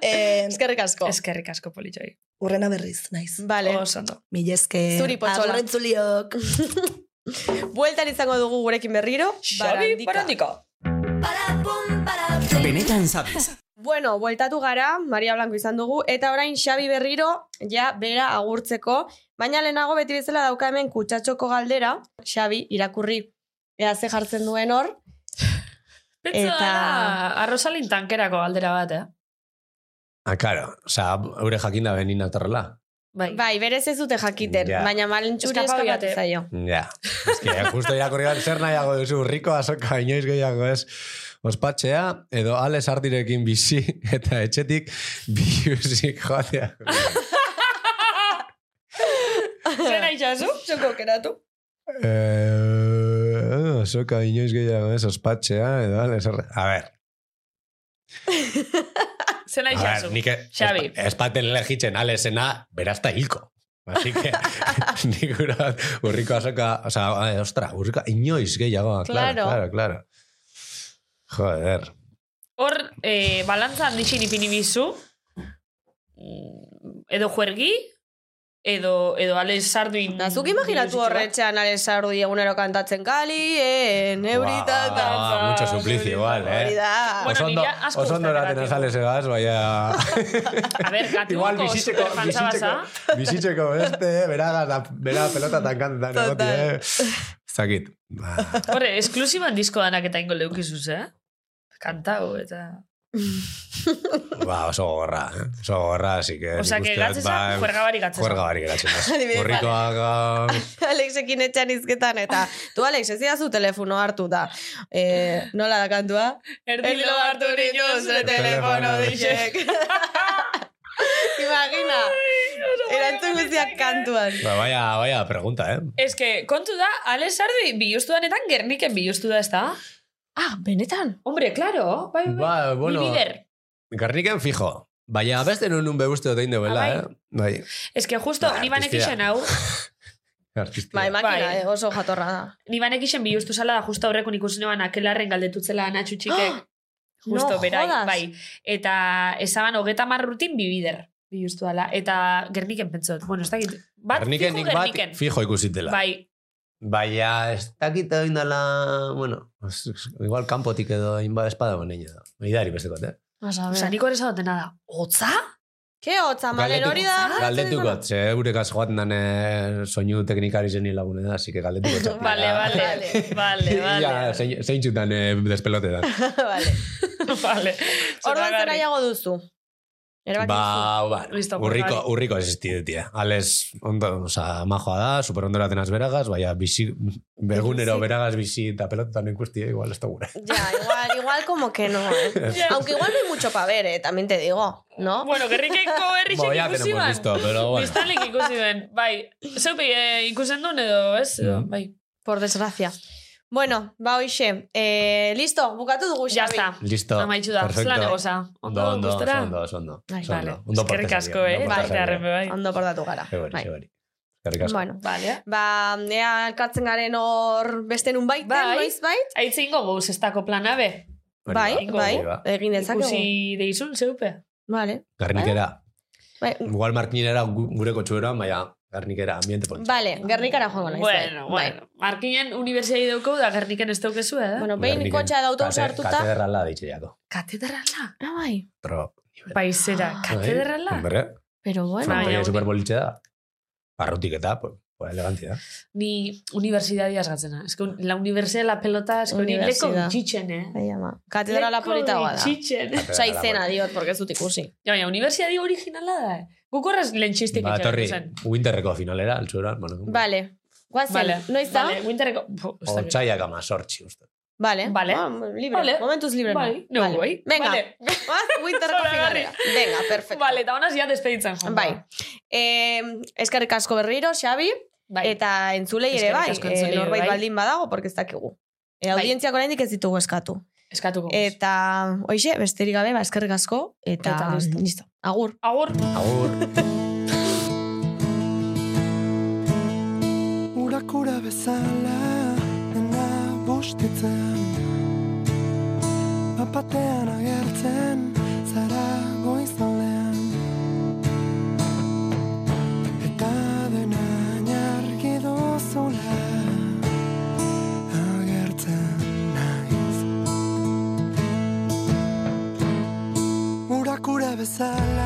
S8: Eh,
S2: Eskerrik asko.
S4: Eskerrik asko politxoi.
S8: urrena berriz, naiz.
S2: Bai. Vale.
S4: Oso ondo.
S8: Milezke.
S2: Zuri, potxola.
S8: Agurrentzuliok.
S2: Bueltan izango dugu gurekin berriro.
S4: Xabi, barandika.
S3: Benetan sabes.
S2: Bueno, bueltatu gara, Maria Blanco izan dugu, eta orain Xabi berriro, ja, bera agurtzeko, baina lehenago beti bezala dauka hemen kutsatxoko galdera, Xabi, irakurri, ea ze jartzen duen hor,
S4: Pentsa
S2: Eta-
S4: da, arrosalin tankerako aldera bat, eh?
S6: Ah, claro. Osa, eure jakin da benin atorrela.
S4: Bai.
S2: bai, berez ez dute jakiten,
S6: Ja.
S2: baina malen txuri
S4: Eskapau
S2: eskapatu
S4: jate.
S2: zaio.
S6: Ja. Ez que, justo irakurri bat, zer nahiago duzu, urriko azoka inoiz gehiago ez. Ospatxea, edo ales artirekin bizi (laughs) eta etxetik biuzik joatea.
S4: Zena itxazu, zoko keratu.
S6: Eh, azoka inoiz gehiago ez, ospatxea, edo ales arti... A ver,
S4: Zena
S6: a ver,
S4: itxazu.
S6: nik e-
S4: Xabi.
S6: espa- espaten lehitzen alesena, berazta hilko. Así
S4: (laughs)
S6: que, (laughs) nik urat, urriko azoka, o sea, eh, ostra, urriko inoiz gehiago, claro,
S2: Claro.
S6: claro, claro. Joder.
S4: Hor, eh, balantza handixin ipini bizu, Mm, edo juergi, edo, edo ale sarduin...
S2: Da, zuk imaginatu horretxean ale sardu egunero kantatzen kali, eh, neurita,
S6: Guau,
S2: eta...
S6: mucho suplicio, igual,
S2: Hori
S6: eh.
S2: da.
S4: Bueno,
S6: oso ondo,
S4: niri asko
S6: oso ondo
S4: gustatzen
S6: eraten
S4: zait.
S6: azale zebaz, baina...
S4: A
S2: (laughs)
S4: ber,
S6: (laughs) Igual
S4: katuko
S6: bizitzeko,
S4: superfantza
S6: bizitzeko,
S4: baza.
S6: bizitzeko beste, eh? beraga, da, bera pelota tankantetan egoti,
S2: Total.
S6: eh. Zakit. Ba,
S4: Horre, esklusiban disko danak eta ingo leukizuz, eh? Kantau eta...
S6: ba, oso gorra, eh? Oso gorra, así que...
S4: Osa, que gatzesa, juerga barik gatzesa.
S6: bai, Juerga barik geratzen
S4: (laughs)
S6: da.
S2: Adibidez,
S6: Horrikoak...
S2: (laughs) Alexekin etxan izketan, eta tu Alex, ez didazu telefono hartu da. Eh, nola da kantua? Erdilo hartu niño, zure telefono dixek. (laughs) Imagina, (laughs) erantzun guztiak kantuan.
S6: Ba, vaya, vaya pregunta, eh.
S4: Ez que, kontu da, Ale Sardi biluztu danetan Gerniken biluztu da, ez da?
S2: Ah, benetan?
S4: Hombre, claro, bai, bai, bai.
S6: Ba, bueno...
S4: Ni bider.
S6: Garniken fijo. Baina beste nun un beguste otein deuela,
S4: Ah,
S6: eh. Bai,
S4: Ez que justo,
S6: Ba,
S4: ni banek
S6: artistia.
S4: isen hau,
S6: artistia.
S2: Bai, makina,
S4: Bai.
S2: eh, oso jatorra da.
S4: ni banek isen biluztu zala, da, justo aurreko ikusi noan akelarren galdetutzela anatxutxikek. (gasps) Justo,
S2: No
S4: berai,
S2: jodas.
S4: bai. Eta esaban hogeta marrutin bibider biluztu dala. Eta Gerniken pentsot. Bueno, ez dakit. Bat,
S6: Gerniken
S4: fijo
S6: nik bat
S4: Gerniken.
S6: fijo ikusitela.
S4: Bai,
S6: Baina, ez dakit egin dela, bueno, ez- ez- igual kanpotik edo inba espada boneina da. Idari bestekot, eh?
S4: Osa, niko ere dena da. Otza?
S2: Ke hotza, malen hori da.
S6: Galdetukot, ze eurekaz joaten dane soinu teknikari zeni lagune da, así que
S4: (laughs)
S6: galdetukot.
S4: Vale,
S6: (laughs)
S4: vale, vale,
S6: Ja,
S4: vale.
S6: zein- zeintzutan eh, despelote da.
S2: (laughs) vale.
S4: (laughs) vale.
S2: Orduan
S4: Zoragarri.
S2: zera jago duzu. Erabaki duzu.
S6: Ba, ba,
S4: Listo, pues,
S6: urriko,
S4: vale.
S6: urriko existitia. Ales, ondo, oza, majoa da, super ondo eratenaz beragas, baina bizi, begunero beragas bizi eta pelotetan ikustia, eh, igual, ez da gure.
S2: Ya, igual, igual como que no.
S4: (laughs)
S2: ¿eh? Aunque igual no hay mucho para ver, ¿eh? también te digo, ¿no?
S4: Bueno,
S6: (laughs)
S4: gerrikeko errixek
S6: Bo, ya
S4: ikusi
S6: tenemos
S4: ban.
S6: listo, pero bueno.
S4: Biztanlek ikusi ben. Bai, zeupi eh, ikusen duen edo, ez? Edo,
S6: Mm.
S4: Bai.
S2: Por desgracia. Bueno, ba hoxe. Eh, listo, bukatu dugu,
S4: Ya
S2: Xabi.
S4: está.
S6: Listo,
S4: Amaitu da,
S6: perfecto.
S4: zelan egoza.
S6: Ondo, ondo, oso
S4: gustora?
S6: ondo, oso ondo.
S2: Ai,
S6: oso
S4: Vale,
S6: ondo. Ondo
S4: eskerrik
S6: portaz
S4: asko,
S6: ari,
S4: eh? Bai,
S2: Bai,
S6: ondo portaz ari.
S4: darren, bai.
S2: Ondo portatu gara.
S6: Ebari,
S2: Bai.
S6: ebari. Eskerrik asko.
S2: Bueno,
S4: Vale.
S2: ba, ea elkartzen garen hor beste nun baiten,
S4: Bai.
S2: noiz bait?
S4: Aitze ingo goz, ez dako plana be.
S6: Hori
S2: Bai,
S6: da,
S2: bai,
S6: hori da.
S2: egin dezakegu.
S4: Ikusi deizun, zeupe.
S2: Vale.
S6: Garnikera.
S2: Bai,
S6: Igual martinera gu- gure kotxuera, baina garnikera, ambiente politxo.
S2: vale, gernikara joango naiz. bai.
S4: Bueno, bueno. Markinen universiai dauko da gerniken ez daukezu,
S2: Bai.
S4: eh?
S2: Bueno, behin
S6: Garniken.
S2: kotxa da autobus
S6: Kate-
S2: hartuta.
S6: Katedrala ditxeako.
S4: Katedrala.
S2: Ah, bai.
S6: Pero,
S4: Paizera,
S2: Ah.
S4: katedrala.
S6: Bai, Hombre,
S2: Pero bueno.
S4: Baina,
S6: Frontoia
S4: uni-
S6: superbolitxe da. Arrutik eta, pues, ¿eh? pues
S2: (laughs)
S6: elegantzia.
S4: Ni universidadia esgatzena. Ez que un- la universidad, la pelota, ez que hori leko
S2: Universidad.
S4: bitxitzen, eh?
S2: Bai, ama. Katedrala politagoa da.
S4: bitxitzen.
S2: Osa izena diot, porque ez dut ikusi.
S4: Ja, baina, universidadi originala da, eh? Guk horrez lehen txistik
S6: Ba,
S4: itxaron
S6: torri,
S4: zen.
S6: winterreko finalera, altzuran, bueno.
S2: Vale. Guazen,
S4: Vale,
S2: noiz da?
S4: Vale, winterreko... Bo, ez dakit.
S6: Otsaiak ama sortzi, uste.
S2: Vale.
S4: Vale.
S2: Ah, libre.
S4: Vale.
S2: Momentuz libre.
S4: Bai, no, bai.
S2: Venga. Ah,
S4: Vale.
S2: Oaz,
S4: (laughs)
S2: winterko
S4: Zoragarri.
S2: finalera. Venga, perfecto.
S4: Vale, eta honaz ja despeditzen. joan.
S2: Bai. Eh, eskerrik asko berriro, Xabi,
S4: bai.
S2: eta entzulei ere
S4: Eskerrik
S2: bai,
S4: asko
S2: eh,
S4: entzulei ere
S2: norbait
S4: bai.
S2: baldin badago, porque ez dakigu. E, audientziak oraindik ez ditugu eskatu.
S4: Eskatuko. Et...
S2: Eta, hoxe, besterik gabe, ba, eskerrik asko, eta,
S4: Eta listo.
S2: listo. Agur.
S4: Agur.
S6: Agur.
S9: Urakura bezala dena bustitzen Apatean agertzen zara goiz aldean Eta dena nargi duzula agertzen naiz Urakura bezala